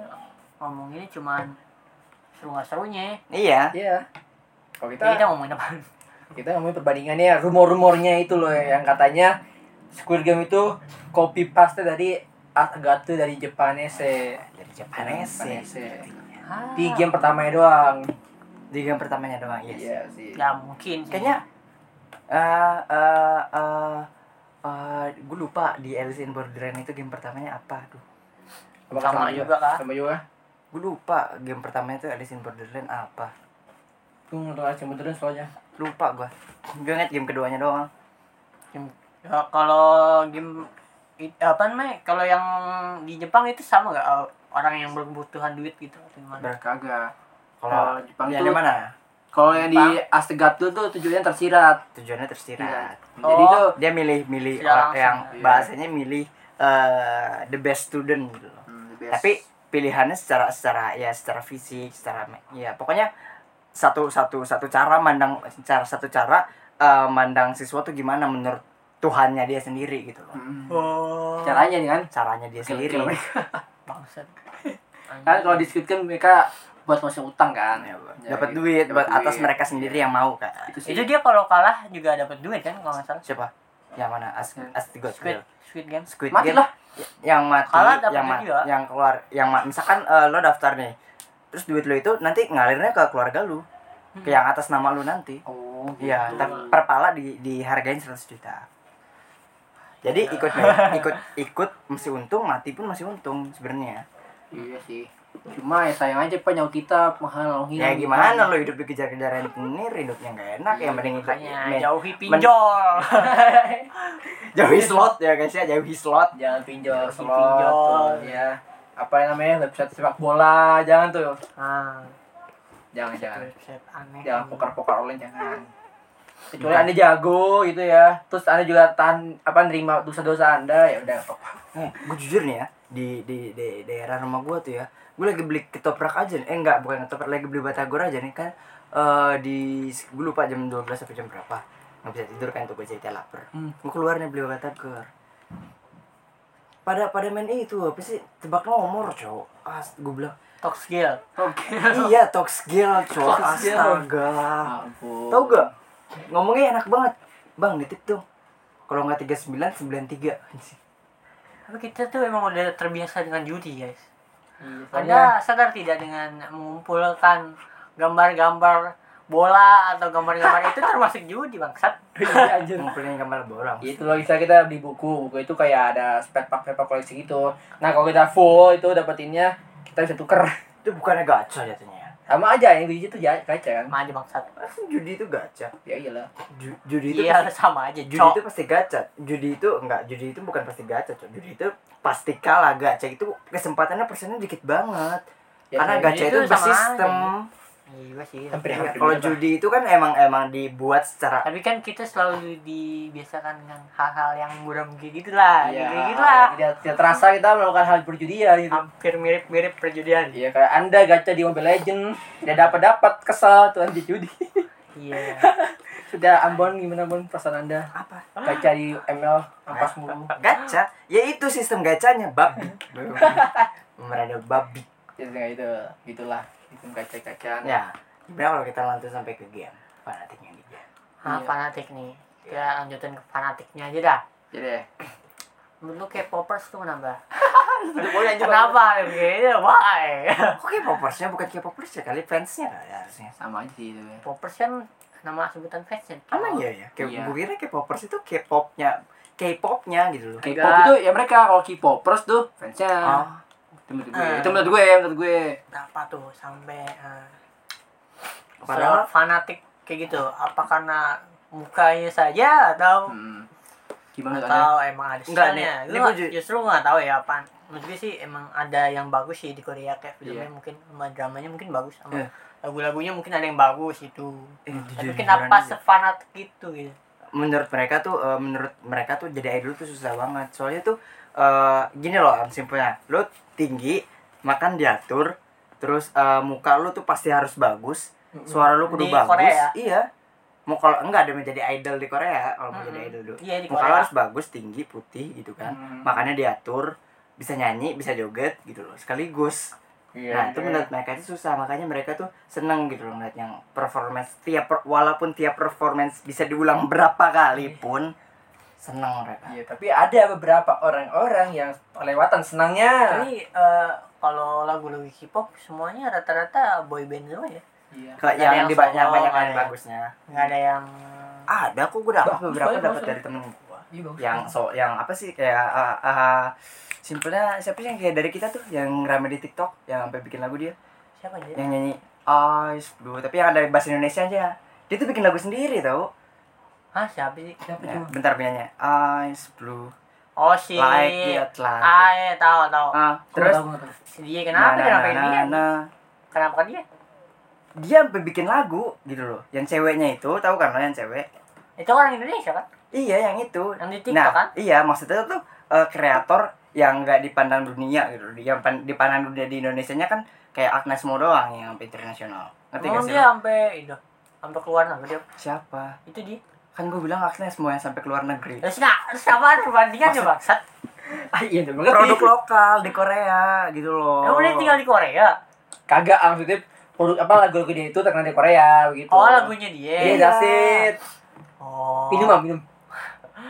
ngomonginnya cuman seru nggak serunya iya Iya. Kalau jadi kita kita ngomongin apa kita ngomongin perbandingannya rumor-rumornya itu loh yang katanya Squid Game itu copy paste dari Atagato dari Japanese. dari ya, ya. Japanese Japanese. Di game pertamanya doang. di game pertamanya doang yes. Iya sih. Ya, nggak mungkin sih. kayaknya eh eh eh gue lupa di Alice in Borderland itu game pertamanya apa tuh Apakah sama juga kan Sama juga. gue lupa game pertamanya itu Alice in Borderland apa Tuh nonton aja beneran soalnya. lupa gue gue inget game keduanya doang Game- ya, kalau game it- apa namanya kalau yang di Jepang itu sama nggak eh, orang yang berkebutuhan duit gitu atau gimana Ber- Kagak. kalau Kalau Oh, Jepang yang tuh- di mana Kalau yang di Astegato tuh tujuannya tersirat. gitu kan. tujuannya tersirat Jadi Oh. tuh dia milih Tidak milih orang- langsung, yang iya. bahasanya milih eh, the best student gitu loh Hmm, the best. tapi pilihannya secara secara ya secara fisik secara me- ya pokoknya satu satu satu cara mandang cara satu cara eh, mandang siswa tuh gimana menurut Tuhannya dia sendiri gitu loh Hmm. oh caranya nih kan. caranya dia sendiri Gila-gila. bangsat Kan kalau di Squid Game mereka buat masuk utang kan. Ya, Bang. Ya, dapat gitu. duit Dapat buat atas duit. iya. mereka sendiri yang mau kan Itu sih. itu dia kalau kalah juga dapat duit kan kalau nggak salah siapa yang mana as as the God Squid Will. Squid Game Squid mati Game lah. yang mati Kalah dapat yang ma- duit juga. yang keluar yang ma- misalkan eh, lo daftar nih terus duit lo itu nanti ngalirnya ke keluarga lo ke Hmm. yang atas nama lo nanti Oh, Iya, gitu. ntar per pala di dihargain 100 juta. Jadi ikut me- ikut ikut masih untung, mati pun masih untung sebenarnya. Iya sih. Cuma ya sayang aja Pak nyawa kita mahal hilang. Iya, gitu ya gimana kan. lo hidup dikejar-kejaran tenir hidupnya nggak enak ya mending kita Makanya men- jauhi pinjol. jauhi slot ya guys ya jauhi slot jangan pinjol Jangan slot pinjol. tuh, ya apa yang namanya website sepak bola jangan tuh Ah, jangan jangan website aneh. jangan poker poker online jangan kecuali Bukan. anda jago gitu ya terus anda juga tahan apa nerima dosa dosa anda ya udah apa gue jujur nih ya di, di di daerah rumah gue tuh ya gue lagi beli ketoprak aja nih. eh enggak bukan ketoprak lagi beli batagor aja nih kan eh di gue lupa jam 12 atau jam berapa nggak bisa tidur kan tuh gue jadi lapar Hmm. gue keluar nih beli batagor pada pada main itu apa sih tebak nomor cowok as gue bilang Talk skill. Oke. iya talk skill cowok Talk skill. Ya astaga Ampun. Tahu gak? Ngomongnya enak banget. Bang, nitip dong. Kalau nggak 39, 93. Tapi kita tuh emang udah terbiasa dengan judi, guys. Anda Soalnya- sadar tidak dengan mengumpulkan gambar-gambar bola atau gambar-gambar itu termasuk judi, bangsat. Iya, anjir. Ngumpulin gambar borang. Ya, *laughs* itu logika kita beli buku buku itu kayak ada spare part spare part koleksi gitu nah kalau kita full itu dapetinnya kita bisa tuker Itu bukannya gacha jatuhnya. sama aja yang biji itu ya kaca kan Sama aja bangsat. Masa judi itu gacha? ya iyalah Ju- judi itu Iya, pasti, sama aja. judi Cok. itu pasti gacha. Judi itu enggak, judi itu bukan pasti gacha, Cok. Judi itu pasti kalah gacha. Itu kesempatannya persennya dikit banget. Ya, Karena kayak gacha judi itu itu sama bersistem. Iya sih. hampir Ya, hampir Kalau mirip lah. judi itu kan emang emang dibuat secara Tapi kan kita selalu dibiasakan dengan hal-hal yang muram kayak gitu ya. lah. Iya, Kayak gitu lah. tidak, tidak terasa kita melakukan hal perjudian gitu. Hampir mirip-mirip perjudian. Iya, kayak Anda gacha di Mobile Legend, tidak dapat dapat kesal tuh anjir judi. *laughs* Iya. Sudah Ambon gimana Ambon perasaan Anda? apa? Gacha di ML ampas mulu. Gacha, ya itu sistem gacanya babi. Merada babi. Jadi kayak itu, gitulah. Itu gacha-gacaan. Ya, sebenarnya kalau kita lanjut sampai ke game, fanatiknya di game. Ah, Iya. fanatik nih. Kita lanjutin ke fanatiknya aja dah. Jadi deh. Menurut lu K-popers tuh kenapa? *laughs* Boleh anjir. Kenapa? Kayaknya why? Kok K-popersnya bukan K-popers ya kali fansnya kali ya harusnya. Sama aja sih itu. ya. Popers kan nama sebutan fashion. Emang iya ya? Kayak Iya. gue kira K-popers itu K-popnya, K-popnya gitu loh. K-pop Enggak. itu ya mereka kalau K-popers tuh fansnya. Oh, Itu menurut gue. Eh. Ah. Itu menurut gue, menurut gue. Kenapa tuh sampai eh, se- padahal fanatik kayak gitu? Apa karena mukanya saja atau Hmm. Gimana tuh Anda? atau emang ada Enggak, stylenya? nih. Lu Ini nggak- gua ju- justru gua nggak tahu ya apaan. Menurut gue sih emang ada yang bagus sih di Korea kayak filmnya Iya. mungkin sama dramanya mungkin bagus sama Iya. lagu-lagunya mungkin ada yang bagus itu. Tapi eh, jujur-jujuran kenapa aja. sefanatik itu gitu? menurut mereka tuh eh, menurut mereka tuh jadi idol tuh susah banget soalnya tuh eh, gini loh am simpelnya lo tinggi makan diatur terus eh, muka lo tuh pasti harus bagus suara lo kudu Di bagus Korea? iya mau kalau enggak ada menjadi idol di Korea kalau mau Mm-mm. jadi idol dulu Iya di muka lo Korea. harus bagus tinggi putih gitu kan Hmm. makannya diatur bisa nyanyi bisa joget gitu loh sekaligus Iya. nah itu menurut mereka itu susah makanya mereka tuh seneng gitu loh ngeliat yang performance tiap per- walaupun tiap performance bisa diulang *laughs* berapa kali pun seneng mereka Iya, tapi ada beberapa orang-orang yang kelewatan senangnya. Tapi eh, kalau lagu-lagu K-pop semuanya rata-rata boy band semua ya. Iya. Kayak Ada yang, yang di banyak solo, banyak ada yang yang- bagusnya Nggak ada yang ada kok gue dapat Bagus, beberapa bagus, dapat bagus. dari temen gue Iya, bagus. yang so yang apa sih kayak ah, ah, simpelnya siapa sih yang kayak dari kita tuh yang rame di TikTok yang sampai bikin lagu dia siapa ya? aja? yang nyanyi Ice Blue tapi yang ada bahasa Indonesia aja dia tuh bikin lagu sendiri tau Hah, siapa sih? Siapa ya, tuh? bentar penyanyi Ice Blue Oh si like di Atlantic Ah, iya, tahu tahu. Ah, Terus terus Si dia kenapa nah, kenapa nah, nah, dia? nah. Kenapa kan dia? dia sampai bikin lagu gitu loh yang ceweknya itu tahu kan lo yang cewek Itu orang Indonesia kan? iya yang itu Yang di TikTok nah kan? iya maksudnya tuh eh, kreator yang nggak dipandang dunia gitu loh yang pan- dipandang dunia di Indonesia nya kan kayak Agnes Mo doang yang sampai internasional ngerti gak Emang sih dia lo? sampai itu sampai keluar negeri apa? siapa itu dia. kan gue bilang Agnes Mo yang sampai keluar *laughs* negeri Terus nah, siapa perbandingan coba? Sat. Ah, iya, udah banget. produk lokal di Korea gitu loh Emang dia tinggal di Korea? Kagak ah, maksudnya produk apa lagu-lagu dia itu terkenal di Korea begitu. Oh lagunya Iya, dia. Iya. that's it. Oh. Minum, ah, minum.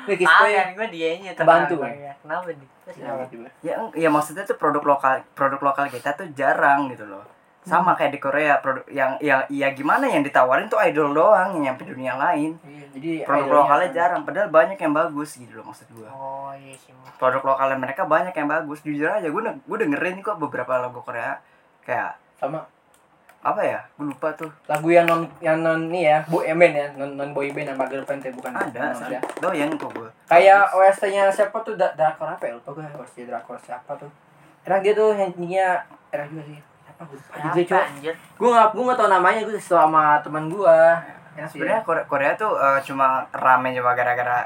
Ini ya. kiss Ah, iya. boy. kan gue dianya Kebantu. terkenal Korea. Kenapa nih? Terus kenapa? ya, ya maksudnya tuh produk lokal produk lokal kita tuh jarang gitu loh sama kayak di Korea produk yang yang ya gimana yang ditawarin tuh idol doang yang nyampe dunia lain Iya, jadi idolnya. kan. produk lokalnya jarang padahal banyak yang bagus gitu loh maksud gua Oh iya sih. produk lokalnya mereka banyak yang bagus jujur aja gue gue dengerin kok beberapa lagu Korea kayak sama apa ya gue lupa tuh lagu yang non yang non nih ya bu emen ya non non boy band sama girlfriend ya bukan ada non- ya. doyan kok gue kayak OST nya siapa tuh da drakor apa ya lupa gue OST drakor siapa tuh enak dia tuh nyanyinya enak juga sih apa gue lupa juga Kenapa, cuma anjir? gue nggak gue nggak tau namanya gue sama teman gue Ya, enak sih sebenarnya Korea, Korea tuh eh, cuma rame cuma gara-gara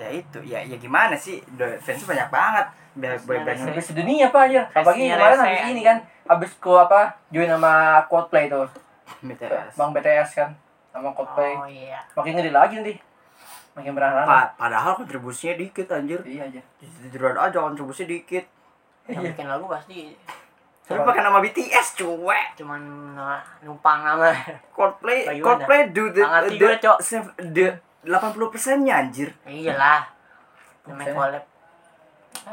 ya itu ya ya gimana sih Do- fansnya banyak banget Be- boy Sebenarnya band sampai sedunia apa aja apalagi Resnya kemarin rese, habis ini anjing. kan habis ke apa join sama Coldplay tuh BTS bang BTS kan sama Coldplay Oh iya. makin ngeri lagi nanti makin berharap Pa- padahal kontribusinya dikit anjir iya aja jujuran aja kontribusinya dikit Yang bikin lagu pasti tapi pakai nama BTS cuek cuman uh, numpang nama. Coldplay Bagaimana? Coldplay do the, Tangan the, tiga, Cok. save the 80 persennya anjir Iyalah. Namanya Buset. collab. Ah,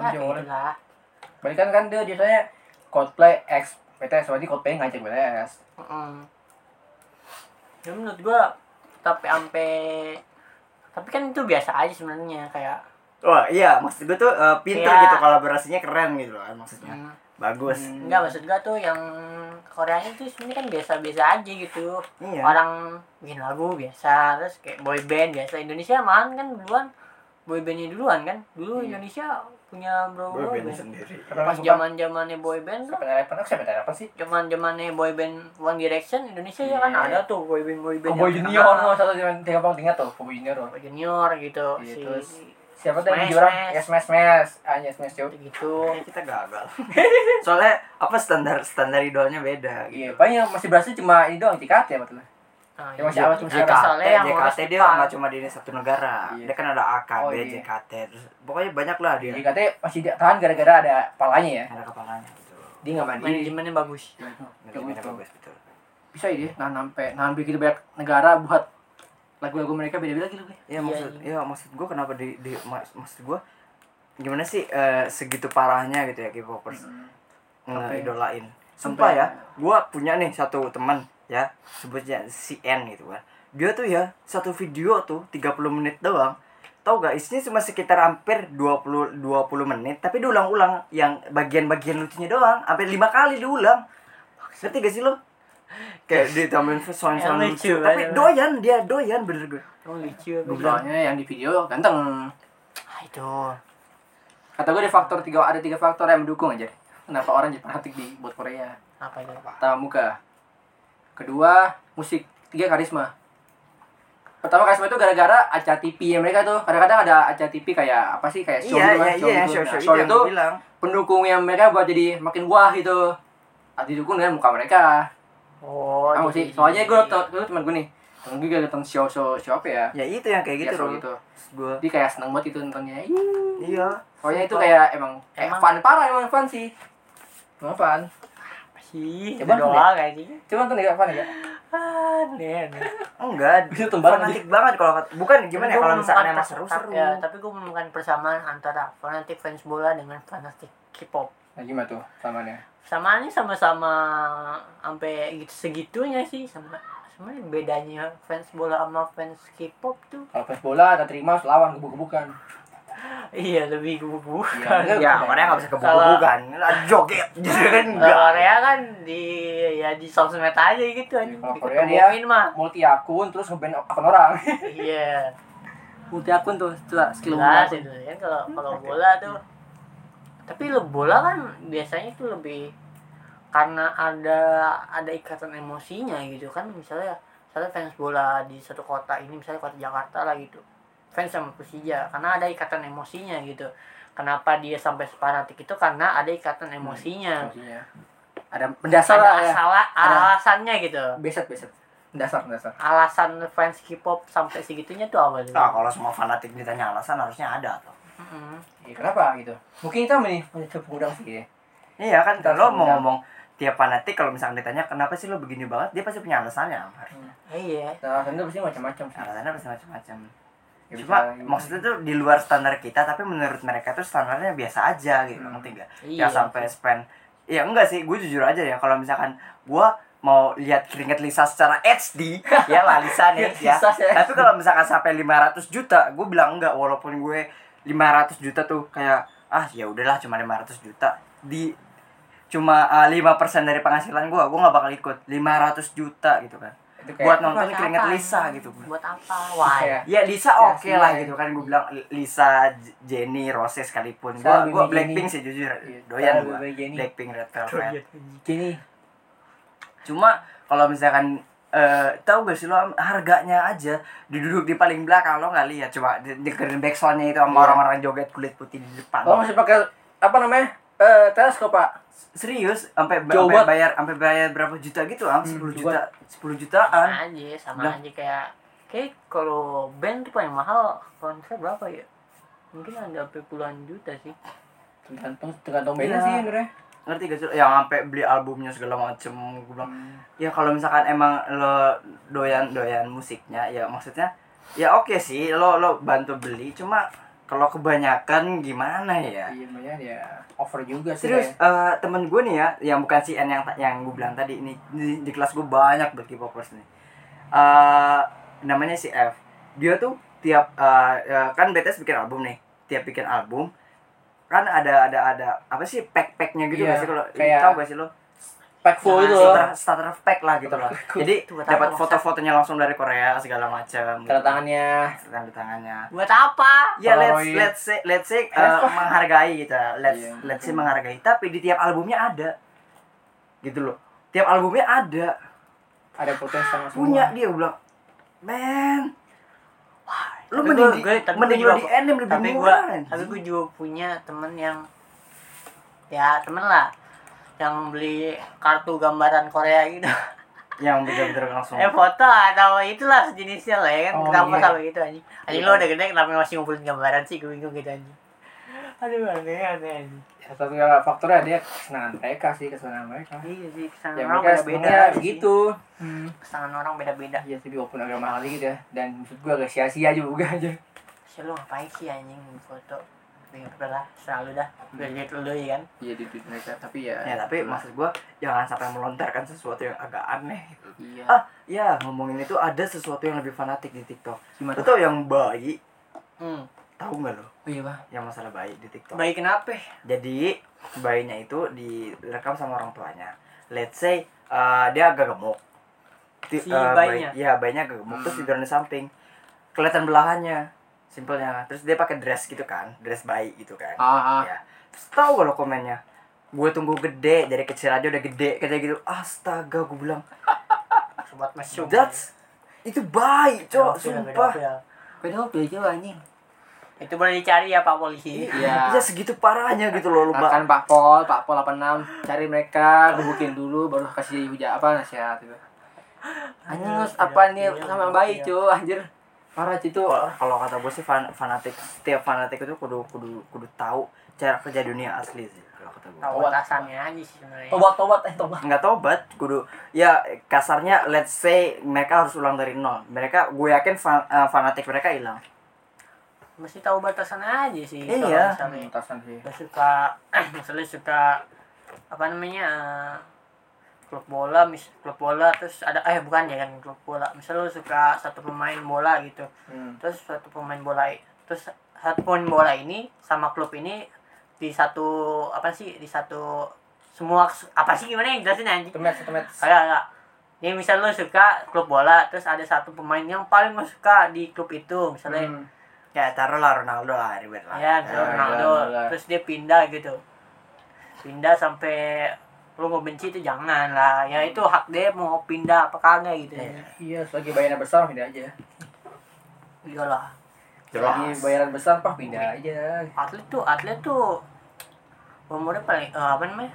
Namanya collab. iyalah. berarti kan kan dia biasanya Coldplay X BTS berarti Coldplay ngajak BTS Mm-mm. Ya menurut gua tapi ampe tapi kan itu biasa aja sebenarnya kayak wah iya maksud gue tuh eh, pinter Iya. gitu kolaborasinya keren gitu kan maksudnya mm, bagus Hmm. enggak maksud gua tuh yang Korea itu sebenarnya kan biasa-biasa aja gitu iya orang bikin lagu biasa terus kayak boy band biasa Indonesia malah kan duluan boy bandnya duluan kan dulu Iya. Indonesia punya bro boy boy band band sendiri pas zaman zamannya boy band tuh siapa yang apa siapa yang apa sih zaman zamannya boy band One Direction Indonesia ya Iya. kan ada tuh boy band boy band Cowboy yang Junior terkenal. oh, satu yang tiga bang tinggal tuh Cowboy Junior oh. Boy Junior gitu Iya, si terus siapa tuh yang Smash, jujur orang Smash. yes smash smash ah yes smash yo gitu Kayaknya kita gagal *laughs* soalnya apa standar standar idolnya beda iya gitu paling yang masih berhasil cuma ini doang cikat ya betul nah, Ya, masih iya. awet, masih Ada awet. soalnya yang ngurus JKT dia Jepang. nggak cuma di satu negara Iya. dia kan ada AKB Oh, iya. JKT terus pokoknya banyak lah Iya. dia cikat masih dia tahan gara-gara ada palanya ya ada kepalanya gitu dia nggak mandiri manajemennya bagus manajemennya gitu. bagus betul bisa ya dia nahan sampai nahan begitu banyak negara buat lagu-lagu mereka beda-beda gitu gue Iya, ya maksud ya maksud gue kenapa di di mas- maksud gue gimana sih eh, segitu parahnya gitu ya K-popers ya? ngeidolain sumpah ya gue punya nih satu teman ya sebutnya si N gitu kan dia tuh ya satu video tuh 30 menit doang tau gak isinya cuma sekitar hampir 20 20 menit tapi diulang-ulang yang bagian-bagian lucunya doang hampir lima kali diulang ngerti gak sih lo kayak ditambahin sound-sound Yang lucu, lucu tapi ada- doyan dia doyan bener gue oh lucu apa bilang? soalnya yang di video ganteng ah, itu kata gue ada faktor tiga ada tiga faktor yang mendukung aja deh. kenapa orang jadi fanatik di buat Korea apa itu pertama muka kedua musik tiga karisma pertama karisma itu gara-gara acara TV yang mereka tuh kadang-kadang ada acara TV kayak apa sih kayak show iya gitu kan, iya iya gitu. show Nah, show show itu yang itu gue bilang pendukung yang mereka buat jadi makin wah gitu Nah, didukung dengan muka mereka oh iya, kamu jadi- sih soalnya gue tau gue teman gue nih temen gue juga nonton show show show apa ya ya itu yang kayak gitu Ya, show loh gitu gue jadi kayak seneng banget itu nontonnya Ih, iya soalnya itu kayak emang kayak Emang. fun parah emang fun sih emang fun apa sih Coba coba dulu doa kayak sih coba nonton nggak apa ya aneh aneh *laughs* enggak Itu tembakan fanatik banget iya. kalau kata- bukan gimana ya Tapi gua kalau misalkan menemukan emang pers- seru-seru ya, tapi gue menemukan persamaan antara fanatik fans bola dengan fanatik K-pop nah gimana tuh samanya samaannya sama-sama sampai gitu segitunya sih sama sebenarnya bedanya fans bola sama fans K-pop tuh *laughs* kalau fans bola tak terima harus lawan gebuk-gebukan iya lebih gubu Iya, ya orang nggak bisa kebuka-bukan *laughs* joget gitu kan Kalau enggak Korea kan di ya di sosmed aja gitu aja. Iya, Kalau Korea Diketemuin mah. multi akun terus ngeband akun orang Iya. multi akun tuh coba skill Jelas multi akun. itu kan kalau kalau bola tuh. Tapi le- bola kan biasanya tuh lebih karena ada ada ikatan emosinya gitu kan misalnya misalnya fans bola di satu kota ini misalnya kota Jakarta lah gitu fans sama Persija karena ada ikatan emosinya gitu kenapa dia sampai separatik itu karena ada ikatan emosinya maksudnya ada mendasar ada lah ya asala, Ada. alasannya gitu beset beset mendasar mendasar alasan fans K-pop sampai segitunya tuh apa tuh? Nah, kalau semua fanatik ditanya alasan harusnya ada tuh Mm-mm. Iya, kenapa gitu mungkin kita nih mencoba pengundang sih ya. iya kan Terus kalau mau enggak. ngomong tiap fanatik kalau misalkan ditanya kenapa sih lo begini banget dia pasti punya alasannya Iya. nah alasan itu pasti macam-macam sih alasannya pasti macam-macam Ya, Ah, cuma bisa- maksudnya tuh di luar standar kita tapi menurut mereka tuh standarnya biasa aja gitu Hmm. ngerti nggak Iya. ya sampai spend ya enggak sih gue jujur aja ya kalau misalkan gue mau lihat keringet Lisa secara HD ya lah Lisa Iya, nih ya Susah ya. tapi kalau misalkan sampai 500 juta gue bilang enggak walaupun gue 500 juta tuh kayak ah ya udahlah cuma 500 juta di cuma ah, 5% dari penghasilan gua, gua nggak bakal ikut. 500 juta gitu kan. Itu kayak Buat nonton Buat keringet apa? Lisa gitu. gua. buat apa why Kayak- Ya Lisa Ya, oke sih, lah ya. gitu kan gue bilang Lisa, J- Jennie, Rose sekalipun. Saya Gua lebih gua milih Blackpink Jennie. sih jujur. Iya, saya Doyan lebih gua. milih Jennie. Blackpink Red Oh, Velvet. iya. Doyan. gini Cuma kalau misalkan eh tahu gak sih lo harganya aja duduk di paling belakang lo nggak lihat coba de- dengerin backsoundnya itu sama Iya. Oh. orang-orang joget kulit putih di depan lo masih pakai apa namanya eh teleskop pak serius sampai ba- Coba. sampai bayar sampai bayar berapa juta gitu Hmm, am 10 juta 10 jutaan sama aja sama Udah. aja kayak kayak kalau band tuh paling mahal konser berapa ya mungkin ada sampai puluhan juta sih tergantung tergantung beda Iya. sih sebenarnya ngerti gak sih yang sampai beli albumnya segala macem gue bilang Hmm, ya kalau misalkan emang lo doyan doyan musiknya ya maksudnya ya oke sih lo lo bantu beli cuma kalau kebanyakan gimana ya iya makanya ya over juga sih Serius, eh, temen gue nih ya, yang bukan si N yang ta- yang gue bilang tadi ini di, di kelas gue banyak buat K-popers nih. Eh, namanya si F. Dia tuh tiap eh, eh, kan BTS bikin album nih, tiap bikin album kan ada ada ada apa sih pack-packnya gitu Iya, gak sih kalau kayak- tahu gak sih lo? pack full Nah, itu loh Starter, starter pack lah gitu lah. Jadi Tuh, tahu dapat nggak? foto-fotonya langsung dari Korea segala macam. tanda tangannya Tanda tangannya. buat apa Ya let's Polaroid. let's say, let's Eh, say, Let's uh, menghargai gitu. Let's Iya. let's say menghargai. Tapi di tiap albumnya ada. Gitu loh. Tiap albumnya ada. ada foto yang sama semua Punya dia bilang, "Man, lu Tapi mending gua- di, gua- tapi mending gua juga- lu di NM lebih tapi gua murah." tapi anjing." gua juga punya temen yang ya temen lah yang beli kartu gambaran Korea gitu yang bener-bener langsung. eh foto atau itulah sejenisnya lah ya kan Oh, kenapa iya. sampai gitu anjing anjing lo udah gede kenapa masih ngumpulin gambaran sih gue bingung gitu anjing aduh aneh aneh anjing satu ya, faktornya dia kesenangan mereka sih kesenangan mereka iya sih kesangan ya orang beda mereka beda beda gitu kesangan orang beda beda Iya sih walaupun agak mahal gitu ya dan maksud gue agak sia-sia juga *laughs* aja sih lo ngapain sih anjing foto Ya, udah lah selalu dah Hmm. udah lihat lo ya kan Iya di duit mereka tapi ya. Eh. Ya, tapi maksud gua jangan sampai melontarkan sesuatu yang agak aneh. Iya. Ah, ya ngomongin itu ada sesuatu yang lebih fanatik di TikTok. Gimana? Lu tau yang bayi, hmm. tahu nggak Oh lo? iya pak. Yang masalah bayi di TikTok. baik kenapa jadi bayinya itu direkam sama orang tuanya let's say uh, dia agak gemuk Ti- Si uh, bayinya? Hmm. bayi- iya bayinya agak gemuk terus tiduran di samping kelihatan belahannya simpelnya terus dia pakai dress gitu kan dress bayi gitu kan Ah, ah. ya terus tahu gak lo komennya gue tunggu gede dari kecil aja udah gede kayak gitu astaga gue bilang Ah, sobat mesum that's itu bayi cok Pedofil, sumpah pedofil. Pedofil juga anjing. ya. itu boleh dicari ya pak polisi Iya. ya segitu parahnya gitu loh lu Mbak. Makan Pak Pol, Pak Pol 86 cari mereka, gebukin dulu baru kasih hujan apa nasihat gitu. Anjing lu apa nih sama bayi cuy anjir. Parah cuy itu. Kalau- kalau kata gue sih fan- fanatik setiap fanatik itu kudu kudu kudu tahu cara kerja dunia asli sih kalau kata gue tahu batasannya aja sih sebenarnya Tobat-tobat eh tobat nggak tobat kudu ya kasarnya let's say mereka harus ulang dari nol mereka gue yakin fan- eh, fanatik mereka hilang mesti tahu batasan aja sih Iya. kalau misalnya Mentasan sih. Dia suka *clears throat* misalnya suka apa namanya eh, klub bola mis klub bola terus ada eh bukan ya kan klub bola misalnya lu suka satu pemain bola gitu terus satu pemain bola i- terus satu pemain bola ini sama klub ini di satu apa sih di satu semua apa sih gimana yang jelasin anjing Temet, temet Agak, agak. Ini misal lu suka klub bola, terus ada satu pemain yang paling lu suka di klub itu, Hmm. misalnya ya taruhlah Ronaldo lah ribet lah Hmm. ya misalnya Ya, Ronaldo, ya, ya. terus dia pindah gitu. Pindah sampai lu mau benci itu jangan lah. Ya itu hak dia mau pindah apa kagak gitu. ya Iya, selagi bayaran besar pindah aja Iyalah. Iya, Selagi bayaran besar pak pindah aja Atlet tuh, atlet tuh umurnya paling eh, apa namanya?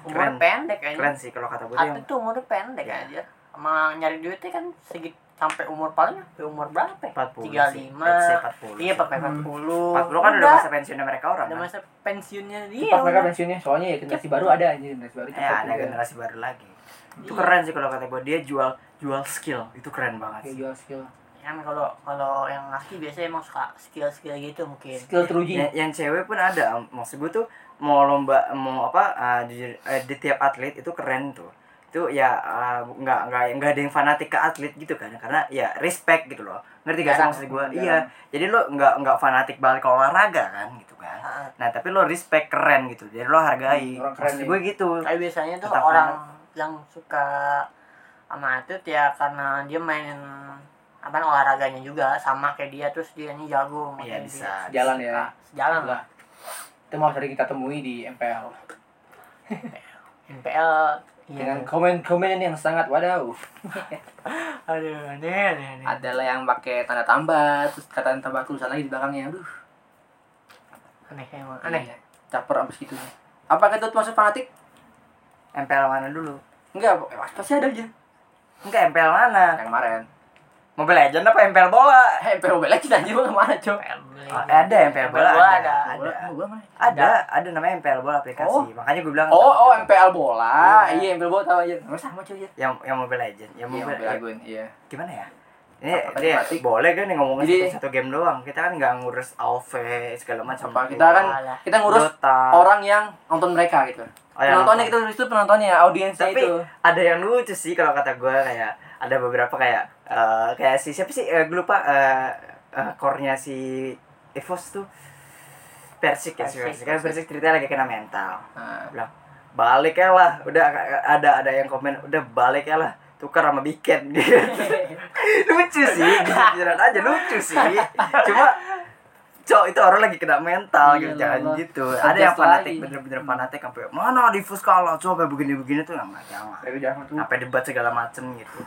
Umurnya Keren. pendek keren kayaknya. sih kalau kata gue tuh yang Atlet tuh umurnya pendek Ya. aja. Sama nyari duitnya kan segit sampai umur paling sampai umur berapa? ya? 40 sih 35. let's say 40 Iya sih. pakai 40. 40 kan udah masa pensiunnya mereka orang ada kan? masa pensiunnya dia. Cepat mereka Iya, udah. pensiunnya, soalnya ya generasi baru ada aja generasi baru ya cepat ada juga. generasi baru lagi itu Iya. keren sih kalau kata gue dia jual jual skill itu keren banget Kayak sih. jual skill Kan kalau kalau yang laki biasanya emang suka skill-skill gitu mungkin. Skill teruji yang, yang cewek pun ada Am. maksud gue tuh mau lomba mau apa uh, jujur, eh, di tiap atlet itu keren tuh itu ya uh, nggak nggak nggak ada yang fanatik ke atlet gitu kan karena ya respect gitu loh ngerti gak sih Jarang. maksud gue Jarang. iya jadi lo nggak nggak fanatik banget ke olahraga kan gitu kan Ah. Nah, tapi lo respect keren gitu. Jadi lo hargai. Hmm, orang keren Maksud nih. gue gitu. Tapi biasanya tuh Tetap orang yang suka amatir ya karena dia mainin apa olahraganya juga sama kayak dia terus dia ini jago Iya, makanya bisa. Iya. dia Jalan ya. sejalan lah Lah. Itu mau sering kita temui di MPL NPL iya dengan komen-komen yang sangat wadaw. aduh aneh aneh aneh Ada lah yang pakai tanda tambah, terus kata tanda tambah tulisan lagi di belakangnya. Aduh, aneh emang aneh Iya, Caper abis gitu. Apakah itu masuk fanatik? MPL mana dulu? Enggak, eh, pasti ada aja. Enggak MPL mana? Yang kemarin. Mobile Legend apa MPL bola? Eh, MPL Mobile Legends aja gua kemana, Cok? NPL boleh Oh, ada MPL bola. Iya. bola ada. ada. Ada. Bola- bola mana? Ada, ada namanya MPL bola aplikasi. Oh. Makanya gue bilang Oh, oh MPL bola. Iya. Iya, MPL bola tahu aja. Namanya sama cuy ya. yang yang Mobile Legend, Iya, yang Mobile, MPL Legend. Iya. gimana ya? Ini Apa ini tadi? boleh kan nih ngomongin Jadi- satu, satu game doang. Kita kan nggak ngurus AOV segala macam. Apa kita kan Alah. kita ngurus Dota. orang yang nonton mereka gitu. Oh, yang penontonnya nonton. kita ngurus itu penontonnya, audiensnya Tapi itu. ada yang lucu sih kalau kata gue kayak ada beberapa kayak eh, kayak si siapa sih? Eh, gue lupa eh eh, core-nya si Evos tuh Persik ya si Persik. Persik, Kan Persik ceritanya lagi kena mental. Nah, bilang balik ya lah udah ada ada yang komen udah balik ya lah tukar sama bikin *laughs* lucu sih jalan aja lucu sih cuma cok itu orang lagi kena mental gitu Iya, jangan Allah. gitu Tegas ada yang fanatik lagi. bener-bener fanatik sampai mana difus kalah coba begini-begini tuh nggak jangan Tapi jangan tuh. sampai debat segala macem gitu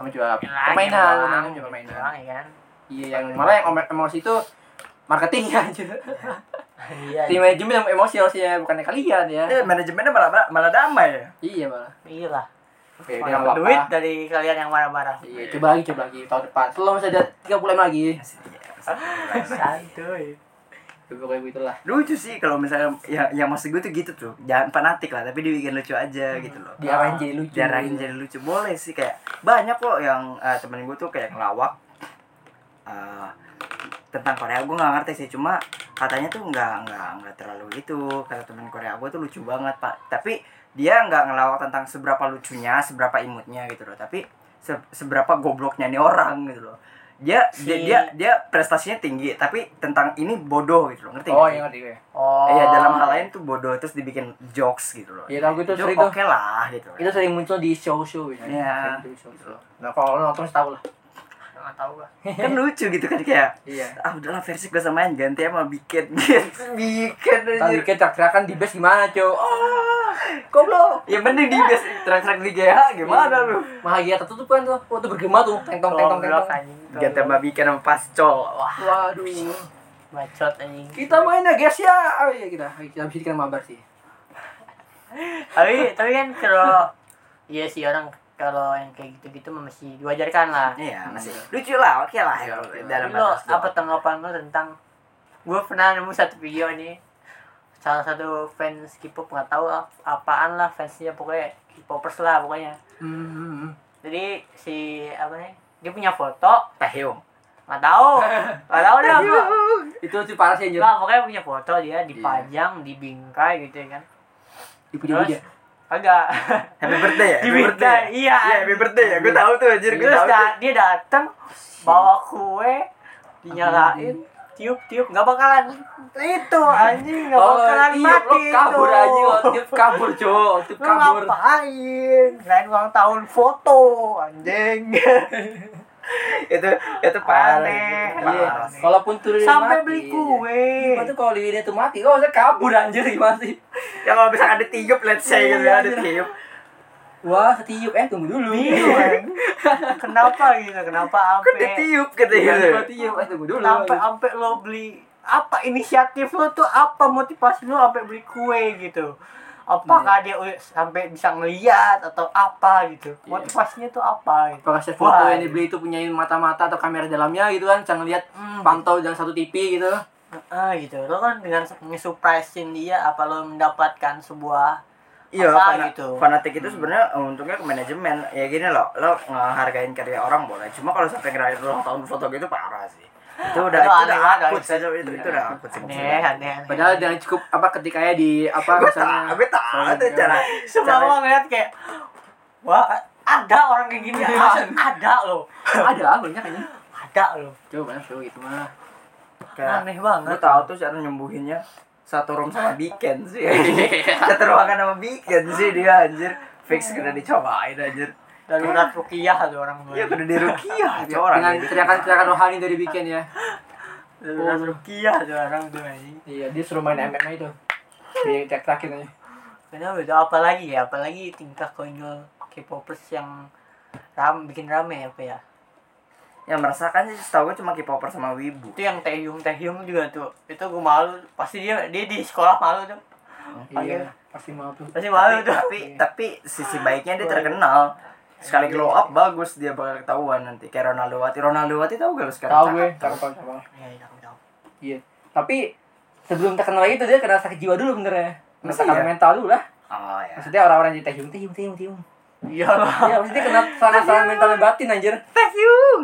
Nah, sama juga Jalan, permainan, jalan, permainan juga permainan. jalan, ya kan Iya, yang malah yang emo- emosi itu marketing *laughs* aja. iya Tim manajemen yang emosi harusnya bukannya kalian ya. eh manajemennya malah malah damai ya Iya malah. iya lah Oke, Mau udah nggak dapat apa-apa. duit dari kalian yang marah-marah Iya, coba lagi, coba lagi tahun depan. Selalu masih ada tiga bulan lagi. santuy Juga kayak gitulah. lucu sih kalau misalnya ya yang maksud gue tuh gitu tuh jangan fanatik lah tapi dibikin lucu Hmm. aja gitu loh Diarahin jadi lucu. diarahin jadi lucu boleh sih kayak banyak kok yang eh, temen gue tuh kayak ngelawak eh, tentang Korea gue nggak ngerti sih cuma katanya tuh nggak nggak nggak terlalu itu kata temen Korea gue tuh lucu banget pak tapi dia nggak ngelawak tentang seberapa lucunya seberapa imutnya gitu loh tapi se- seberapa gobloknya nih orang gitu loh dia dia Si- dia dia prestasinya tinggi tapi tentang ini bodoh gitu loh ngerti nggak Oh, sih? yang ngerti gue. oh Iya dalam hal lain tuh bodoh terus dibikin jokes gitu loh. Iya, tahu gue tuh Itu sering oke tuh. lah gitu. Itu sering muncul di show-show biasanya. Iya. Sering di show-show. Nah, kalau lo nonton tahu lah. nggak tahu gua kan lucu gitu kan kayak Iya. ah udahlah versi gue samain ganti sama bikin *laughs* gitu. bikin Tapi aja. kita teriak-teriakan di base gimana, Cok? Ah, goblok. Iya. Ya mending di base track-track di GH gimana lu? Mahagia tertutup kan tuh. Waktu bergema tuh, tentong tentong Goblok, tentong. anjing. Ganti sama bikin sama pascol. Wah. Waduh. bacot anjing Kita main ya, guys ya. Oh iya kita. Kita bisa kena mabar sih. tapi tapi kan kalau iya sih orang kalau yang kayak gitu-gitu mah masih diwajarkan lah Iya, masih lucu lah, oke lah. Iya, oke lah. dalam Tapi lo batas doang. apa tanggapan lo tentang gue pernah nemu satu video nih salah satu fans K-pop nggak tahu ap- apaan lah fansnya pokoknya K-popers lah pokoknya Hmm. jadi si apa nih dia punya foto Taehyung. nggak *laughs* tahu nggak tahu deh apa Itu sih parah sih anjir. Iya. Nggak, pokoknya punya foto dia dipajang dibingkai gitu ya kan Dipuja-puja. agak Happy birthday ya? *laughs* Iya, Happy birthday. dibingkai ya? iya Iya, happy birthday ya. Gue tahu tuh anjir, gue terus tahu. tuh. da- dia datang bawa kue dinyalain tiup tiup nggak bakalan itu anjing nggak bakalan iya, mati lo kabur itu. aja, tiap kabur, Cok. Tiap Lu kabur. ngapain lain ulang tahun foto *laughs* anjing Itu itu parah. Aneh. Iya, Parah. kalaupun turun sampai mati, beli iya. kue Cuma tuh kalau lilinnya tuh mati, kok saya kabur anjir gimana sih? Ya kalau misalkan ada tiup, let's say gitu ya, ada Iya. tiup. Wah, setiup eh tunggu dulu. Bingung, anjing. Iya, kan? kenapa gitu kenapa Kan ada ampe tiup gitu ya. *laughs* Iya, setiup eh tunggu dulu. sampai ampe lo beli apa inisiatif lo tuh apa motivasi lo sampai beli kue gitu Iya. apakah dia u- sampai bisa ngeliat atau apa gitu Iya. motivasinya tuh apa gitu Apakah saya foto Wah, yang dibeli itu punya mata-mata atau kamera dalamnya gitu kan, bisa ngeliat hmm, pantau jangan satu TV gitu. ah gitu lo kan dengan nge-surprisein dia apa lo mendapatkan sebuah Iya, Apa fana- gitu. fanatik itu sebenarnya eh, untungnya ke manajemen. Ya gini loh, lo ngehargain karya orang boleh. Cuma kalau sampai ngerayain ulang tahun foto gitu parah sih. Itu Aduh, udah itu aneh udah banget, akut guys. sih, itu, itu, itu udah akut sih. aneh aneh aneh Padahal jangan cukup apa ketika ya di apa Gue misalnya. tak, gue tak ada cara. *laughs* semua cara- orang ngeliat kayak wah ada orang kayak gini Iya. ada, ada lo Ada lah banyak aja. ada lo Coba banyak coba gitu mah. Kayak Nah, aneh banget gue tahu tuh cara nyembuhinnya satu room sama Biken *laughs* sih Iya. satu ruangan sama Biken sih dia anjir fix kena dicobain anjir darurat rukiah tuh orang tua iya kena dirukiah aja orang Dengan ini. teriakan-teriakan rohani dari bikin ya. darurat rukiah tuh orang tua ini Iya, dia suruh main MMA itu. Dia tek-takin aja. kenapa itu apalagi ya apalagi tingkah konyol K-popers yang ram bikin rame apa ya yang merasakan sih setahu gue cuma K-popper sama Wibu itu yang Taehyung Taehyung juga tuh itu gue malu pasti dia dia di sekolah malu tuh Iya, pasti mau tuh. pasti malu tuh Iya, tapi tapi sisi baiknya dia terkenal sekali glow up bagus dia bakal ketahuan nanti kayak Ronaldo Wati Ronaldo Wati tahu gak lu sekarang Tahu gue, Cakep. tahu tahu tahu. ya, ya, aku tahu. Iya. Tapi sebelum terkenal itu dia kena sakit jiwa dulu benernya. Kena Masa sakit iya? mental dulu lah. oh ya Maksudnya orang-orang di Taehyung, Taehyung, Taehyung, Taehyung. iya lah Iya, maksudnya dia kena serangan-serangan mental dan batin anjir. Taehyung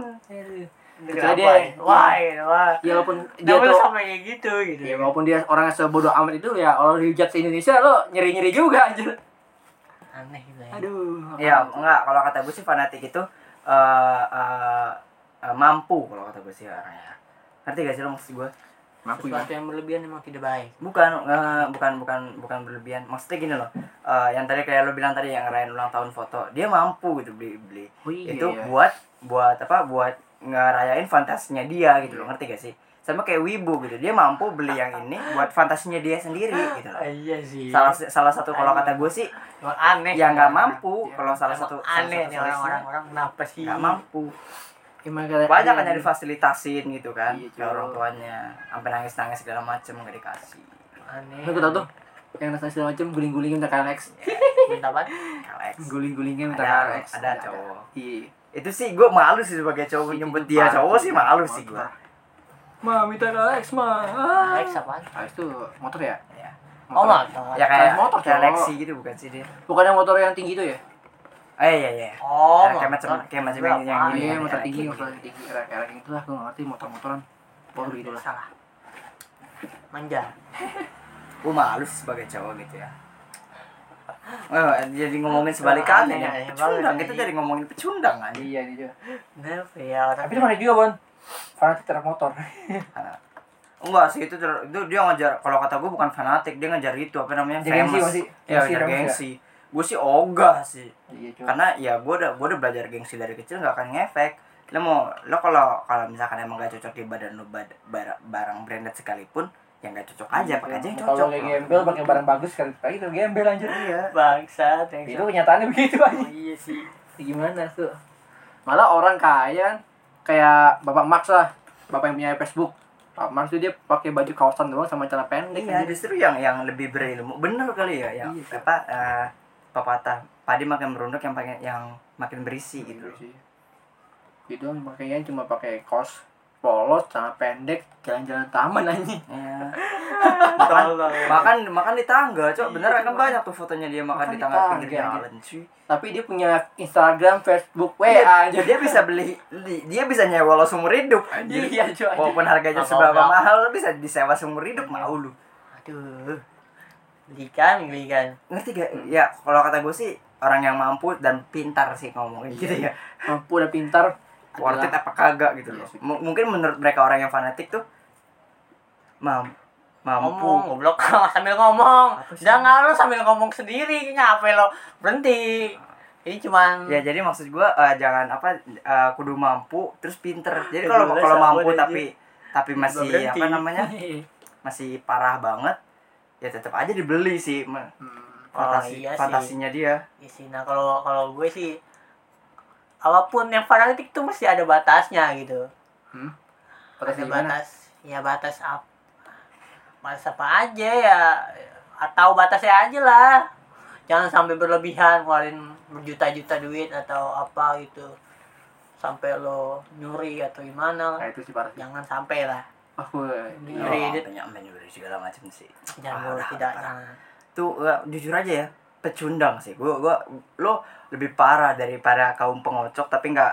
Kenapa dia- ya? wah ya, wah Iya, Ya walaupun Nah, dia Kenapa lu tuh sampai kayak gitu gitu Iya. Ya walaupun dia orang yang sebodoh amat itu ya kalau dihujat se Indonesia lo nyeri-nyeri juga anjir. aneh gitu ya Aduh. ya enggak kalau kata gue sih fanatik itu eh, eh, eh, mampu kalau kata gue sih orangnya ngerti gak sih lo maksud gue Mampu ya. sesuatu yang berlebihan emang tidak baik bukan eh, bukan bukan bukan berlebihan maksudnya gini loh eh, yang tadi kayak lo bilang tadi yang ngerayain ulang tahun foto dia mampu gitu beli beli Oh iya, itu iya. buat buat apa buat ngerayain fantasinya dia gitu loh ngerti gak sih sama kayak wibu gitu dia mampu beli yang ini buat fantasinya dia sendiri gitu loh iya sih salah salah satu kalau kata gue sih Emang aneh yang Ya, nggak mampu kalau salah Emang satu salah aneh satu nih solusinya, orang-orang Iya. orang kenapa sih nggak mampu Gimana kata- banyak Iya. kan yang difasilitasin gitu kan Iya, ke orang tuanya sampai nangis nangis segala macem nggak dikasih aneh Lu tau tuh yang rasa segala macam guling-gulingnya minta ke Alex. minta banget Alex Guling-gulingnya minta ke Ada- Alex. ada cowok. Iya. itu sih gue malu sih sebagai cowok nyebut dia cowok sih malu sih gue Ma minta ke Alex ma. Ah. Alex apaan Alex tuh motor ya? ya, oh motor ya Kayak kayak motor, kayak cowok. Lexi gitu bukan sih dia Bukan yang motor yang tinggi itu ya? oh iya iya oh Kayak macam- kayak macam yang- yang Iya, Apaan? ini. Iya, iya, motor iya, tinggi, iya. motor tinggi, kayak kayak gitu lah, gue nggak ngerti motor-motoran. Pokoknya gitu lah. salah manja gue malu sih sebagai cowok gitu ya Oh, jadi ngomongin sebalikannya Aneh, ya. aneh Pecundang, banget. kita jadi ngomongin pecundang kan. Iya, ini juga. kenapa ya orang Tapi itu mana juga, Bon. Fanatik terhadap motor. Enggak sih itu ter- itu dia ngajar kalau kata gue bukan fanatik, dia ngajar itu apa namanya? Ngajar gengsi famous. masih. Iya, Gengsi, ngajar famous ya. gengsi. Gue sih ogah sih. Iya, cuma. Karena ya gue udah gue udah belajar gengsi dari kecil nggak akan ngefek. Lo mau lo kalau kalau misalkan emang gak cocok di badan lo bad, bar- barang branded sekalipun, ya nggak cocok aja, pakai aja yang Iya, cocok. Kalau lagi gembel pakai barang bagus kan kayak gitu gembel anjir. Iya. bangsa Itu kenyataannya begitu aja. iya sih Gimana tuh? Malah orang kaya kan kayak Bapak Max lah, Bapak yang punya Facebook. Bapak Max tuh dia pakai baju kaosan doang sama celana pendek. Iya, anjir. justru yang yang lebih berilmu. Bener kali ya, yang Iya. apa eh, pepatah padi makin merunduk yang pakai yang makin berisi gitu. gitu loh. sih. Dia doang pakainya cuma pakai kaos polos, celana pendek, jalan-jalan taman anjing. Iya. makan, tolong *laughs* makan makan di tangga, Cok. Iya, Bener kan makan- banyak tuh fotonya dia makan, makan di di tangga pinggir tangga, jalan, cuy. Tapi dia punya Instagram, Facebook, Iya, WA anjir, anjir. dia bisa beli li- dia bisa nyewa lo seumur hidup anjir. Iya, cuy. anjir. Walaupun harganya Nggak seberapa mau, nggak. mahal lo bisa disewa seumur hidup mau lu. aduh gelikan gelikan Ngerti gak? Ya, kalau kata gue sih orang yang mampu dan pintar sih ngomongin gitu ya. Mampu udah pintar. worth it apa kagak gitu Iya loh. sih. M- mungkin menurut mereka orang yang fanatik tuh mam ngomong mampu goblok *laughs* sambil ngomong Apa sih? jangan lu sambil ngomong sendiri ngapain lo berhenti ini cuman ya jadi maksud gua eh, jangan apa eh, kudu mampu terus pinter jadi kalau Kedua kalau sama mampu aja. tapi tapi masih berhenti. apa namanya Iya. masih parah banget ya tetap aja dibeli sih me- Hmm. fantasi iya sih. fantasinya dia Iya sih, nah kalau kalau gue sih apapun yang fanatik tuh mesti ada batasnya gitu. Terus ada gimana? batas, ya batas apa? Batas apa aja ya atau batasnya aja lah. Jangan sampai berlebihan ngeluarin berjuta-juta duit atau apa gitu. Sampai lo nyuri atau gimana. Nah, itu sih parah sih. Jangan sampai lah. Aku eh, Iya. Oh, Read it. banyak banyak beli segala macam sih Jangan Parah, boleh tidak parah. jangan. tuh eh, jujur aja ya pecundang sih gua gua lo lebih parah daripada kaum pengocok tapi nggak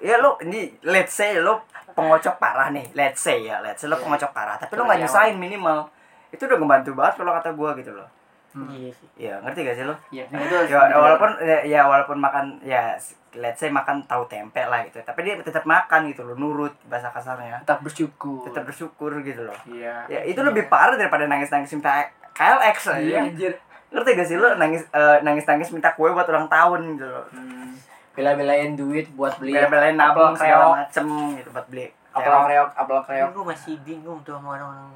ya lo ini let's say lo pengocok parah nih let's Iya. say ya let's say lo pengocok parah tapi lo nggak nyusahin minimal itu udah ngebantu banget kalau kata gua gitu loh Iya sih. ya ngerti gak sih lo Iya, itu harus- ya walaupun ya- ya walaupun makan ya let's say makan tahu tempe lah gitu tapi dia tetap makan gitu loh nurut bahasa kasarnya tetap bersyukur. tetap bersyukur gitu loh Iya. ya itu lebih parah daripada nangis nangis minta KLX lah Iya ya anjir. ngerti gak sih lo nangis eh, nangis nangis minta kue buat ulang tahun gitu loh Hmm. Bela-belain duit buat beli bela-belain nabung apel kreok, segala macem gitu buat beli apel kreok, apel kreok. Tapi gue masih bingung tuh sama orang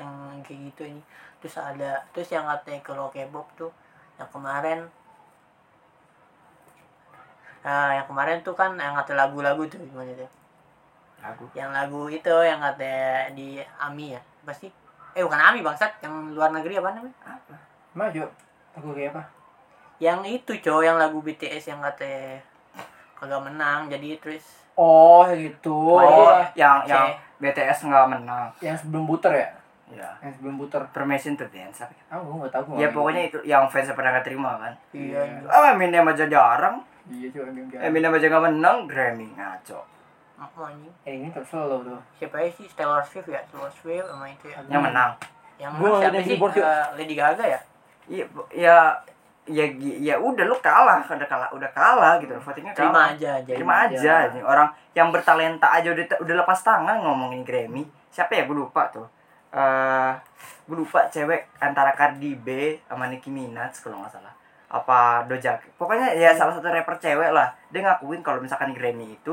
yang kayak gitu ini. Terus ada terus yang katanya kalau K-pop tuh yang kemarin Nah, yang kemarin tuh kan yang kata lagu-lagu tuh gimana tuh? lagu Yang lagu itu yang kata di AMI ya. Pasti eh bukan AMI bangsat, yang luar negeri apa namanya? Maju. Aku kayak apa? Yang itu cowok yang lagu BTS yang kata kagak menang jadi terus Oh, gitu. oh Iya. yang Cek. yang BTS nggak menang Yang sebelum buter ya? ya Yang sebelum buter. permission to dance apa ya? Ah, gua enggak tahu gua. ya pokoknya itu yang fans pernah gak terima kan iya. Iya. ah Eminem aja jarang iya coba yang dia. Eminem aja gak menang Grammy ngaco Apa anjing? Eh, ini terserah lo tuh. Siapa ya sih Taylor Swift ya? Taylor Swift sama itu ya. Hmm. yang menang yang Gua menang ngeliatin siapa sih keyboard yuk. Eh, Lady Gaga ya Iya, bu- ya ya gi- ya udah lu kalah, udah kalah, udah kalah gitu loh. Votingnya terima kalah. aja aja Terima aja. aja. ini Orang yang bertalenta aja udah udah lepas tangan ngomongin Grammy. Siapa ya gue lupa tuh. Eh gue lupa cewek antara Cardi B sama Nicki Minaj kalau nggak salah apa Doja Cat. pokoknya ya salah satu rapper cewek lah dia ngakuin kalau misalkan Grammy itu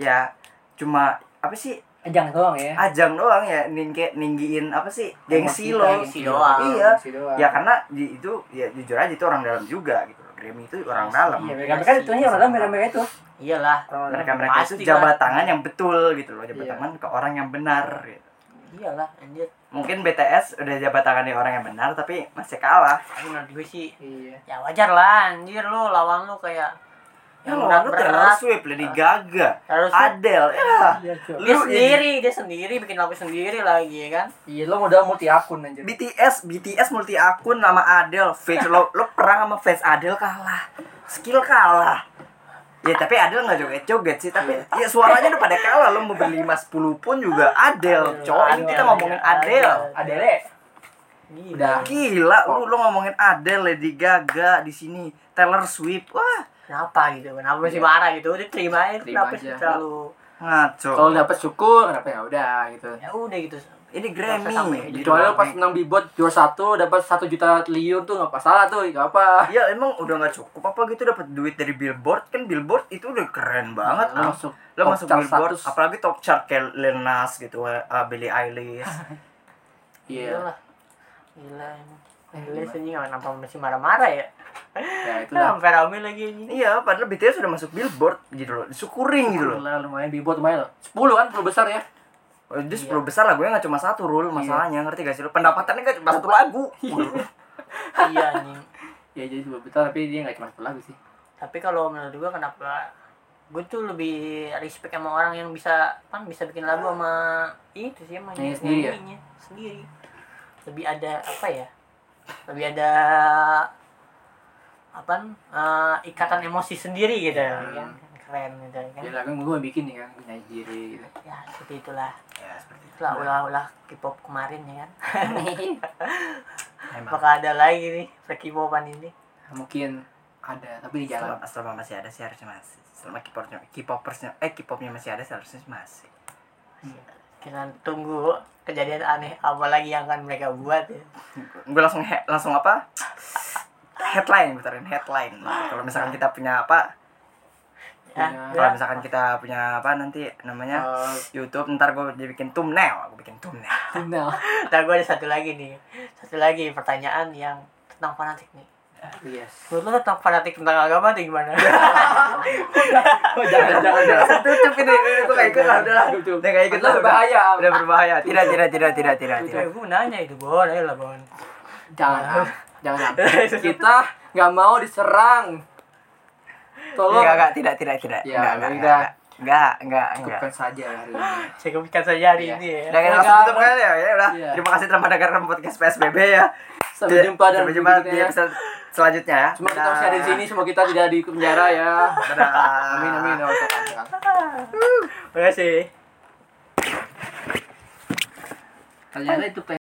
ya cuma apa sih Ajang doang ya. ajang doang ya ningke ninggiin apa sih gengsi Emang kita lo gengsi doang. Iya. Gengsi doang. ya karena di, itu ya jujur aja itu orang dalam juga gitu loh. Grammy itu orang dalam Iya, mereka-mereka itu nih orang mereka-mereka itu. iyalah Orang-orang mereka mereka itu Pasti jabat lah. tangan yang betul gitu loh jabat Iya. tangan ke orang yang benar gitu. iyalah anjir mungkin BTS udah jabat tangan di orang yang benar tapi masih kalah tapi menurut gue sih Iya. ya wajar lah anjir lu lawan lu kayak ya yang lo berat Iya. lu Taylor berat Swift Lady Gaga harus Adele ya Iya, coba. dia lu ini sendiri dia sendiri bikin lagu sendiri lagi ya kan Iya, lo modal multi akun anjir. BTS BTS multi akun nama Adele fake lo lo perang sama face Adele kalah skill kalah ya tapi Adele nggak joget joget sih tapi Iya. ya suaranya udah pada kalah lo mau berlima sepuluh pun juga Iya. Adele cowok ini kita ngomongin Adele Adele. Gila. gila lu lo ngomongin Adele Lady Gaga di sini Taylor Swift wah kenapa gitu kenapa masih marah gitu udah terima aja Terima kenapa sih aja. terlalu ngaco Kalau dapat syukur, kenapa ya udah gitu. ya udah gitu Nggak ini usah Grammy sampai. Kecuali lo ya, pas menang billboard juara satu dapat satu juta triliun tuh nggak masalah tuh nggak apa. Ya emang udah nggak cukup apa gitu dapat duit dari billboard kan billboard itu udah keren banget Lo Am. masuk lo top masuk chart billboard 100. apalagi top chart kayak Lil Nas gitu uh, Billie Eilish *laughs* Iya. lah gila emang Gila sih anjing kenapa masih marah-marah ya Ya itu lah. Sampai rame lagi anjing iya padahal BTS sudah masuk billboard gitu loh syukurin gitu loh Lah, lumayan billboard lumayan loh. 10 kan perlu besar ya. Oh, dia 10 besar lagunya nggak cuma Iya. satu rule masalahnya ngerti gak sih lo pendapatannya nggak cuma satu *laughs* lagu Iya anjing Ya jadi 10 besar tapi dia nggak cuma satu lagu sih. tapi kalau menurut gua kenapa gue tuh lebih respect sama orang yang bisa kan bisa bikin lagu sama itu sih sama Nyanyi sendiri ya? nyanyinya sendiri lebih ada apa ya lebih ada apa eh, ikatan emosi sendiri gitu kan keren gitu kan Iya. Ya lagu gue bikin nih kan gue nyanyi sendiri gitu. ya seperti itulah ya seperti itu itulah ulah-ulah K-pop kemarin ya kan Nah, emang bakal ada lagi nih perkipopan ini Mungkin ada tapi di jalan. Ya, selama, selama masih ada sih harusnya masih selama K-popnya K-popersnya eh K-popnya masih ada seharusnya masih kita tunggu kejadian aneh apa lagi yang akan mereka buat ya gue langsung he- langsung apa headline putarin headline Nah, kalau misalkan kita punya apa Ya, Iya, kalau ya. misalkan kita punya apa nanti namanya Eh, YouTube ntar gue bikin thumbnail aku bikin thumbnail Final. Nah, gue ada satu lagi nih. Satu lagi pertanyaan yang tentang fanatik nih. Yes. *laughs* Menurut lo tentang fanatik tentang agama tuh *laughs* gimana? Oh, *laughs* jangan jangan *laughs* jangan. tutup ini ini gue gak ikut lah udah lah udah gak ikut lah Itu udah, bahaya. udah berbahaya tidak tidak tidak tidak tidak tidak Itu gue Ya, nanya itu, Bon. Ayo lah, Bon. Jangan. Am. *laughs* Jangan. Am. Kita nggak mau diserang. Tolong. Enggak, enggak, tidak, tidak, tidak. Ya, Enggak, enggak, udah. enggak, enggak, enggak. Cukupkan saja hari ini. Saya kepikiran saja hari Iya. ini ya. Udah, kita langsung tutup kan ya, ya udah. Iya. Terima kasih telah mendengarkan podcast PSBB ya. Sampai jumpa dan Sampai jumpa di berikutnya. episode selanjutnya ya. Semoga kita masih ada di sini, semoga kita tidak di penjara ya. Dadah. Amin amin. Ya Allah, Tuhan. Makasih. Ternyata itu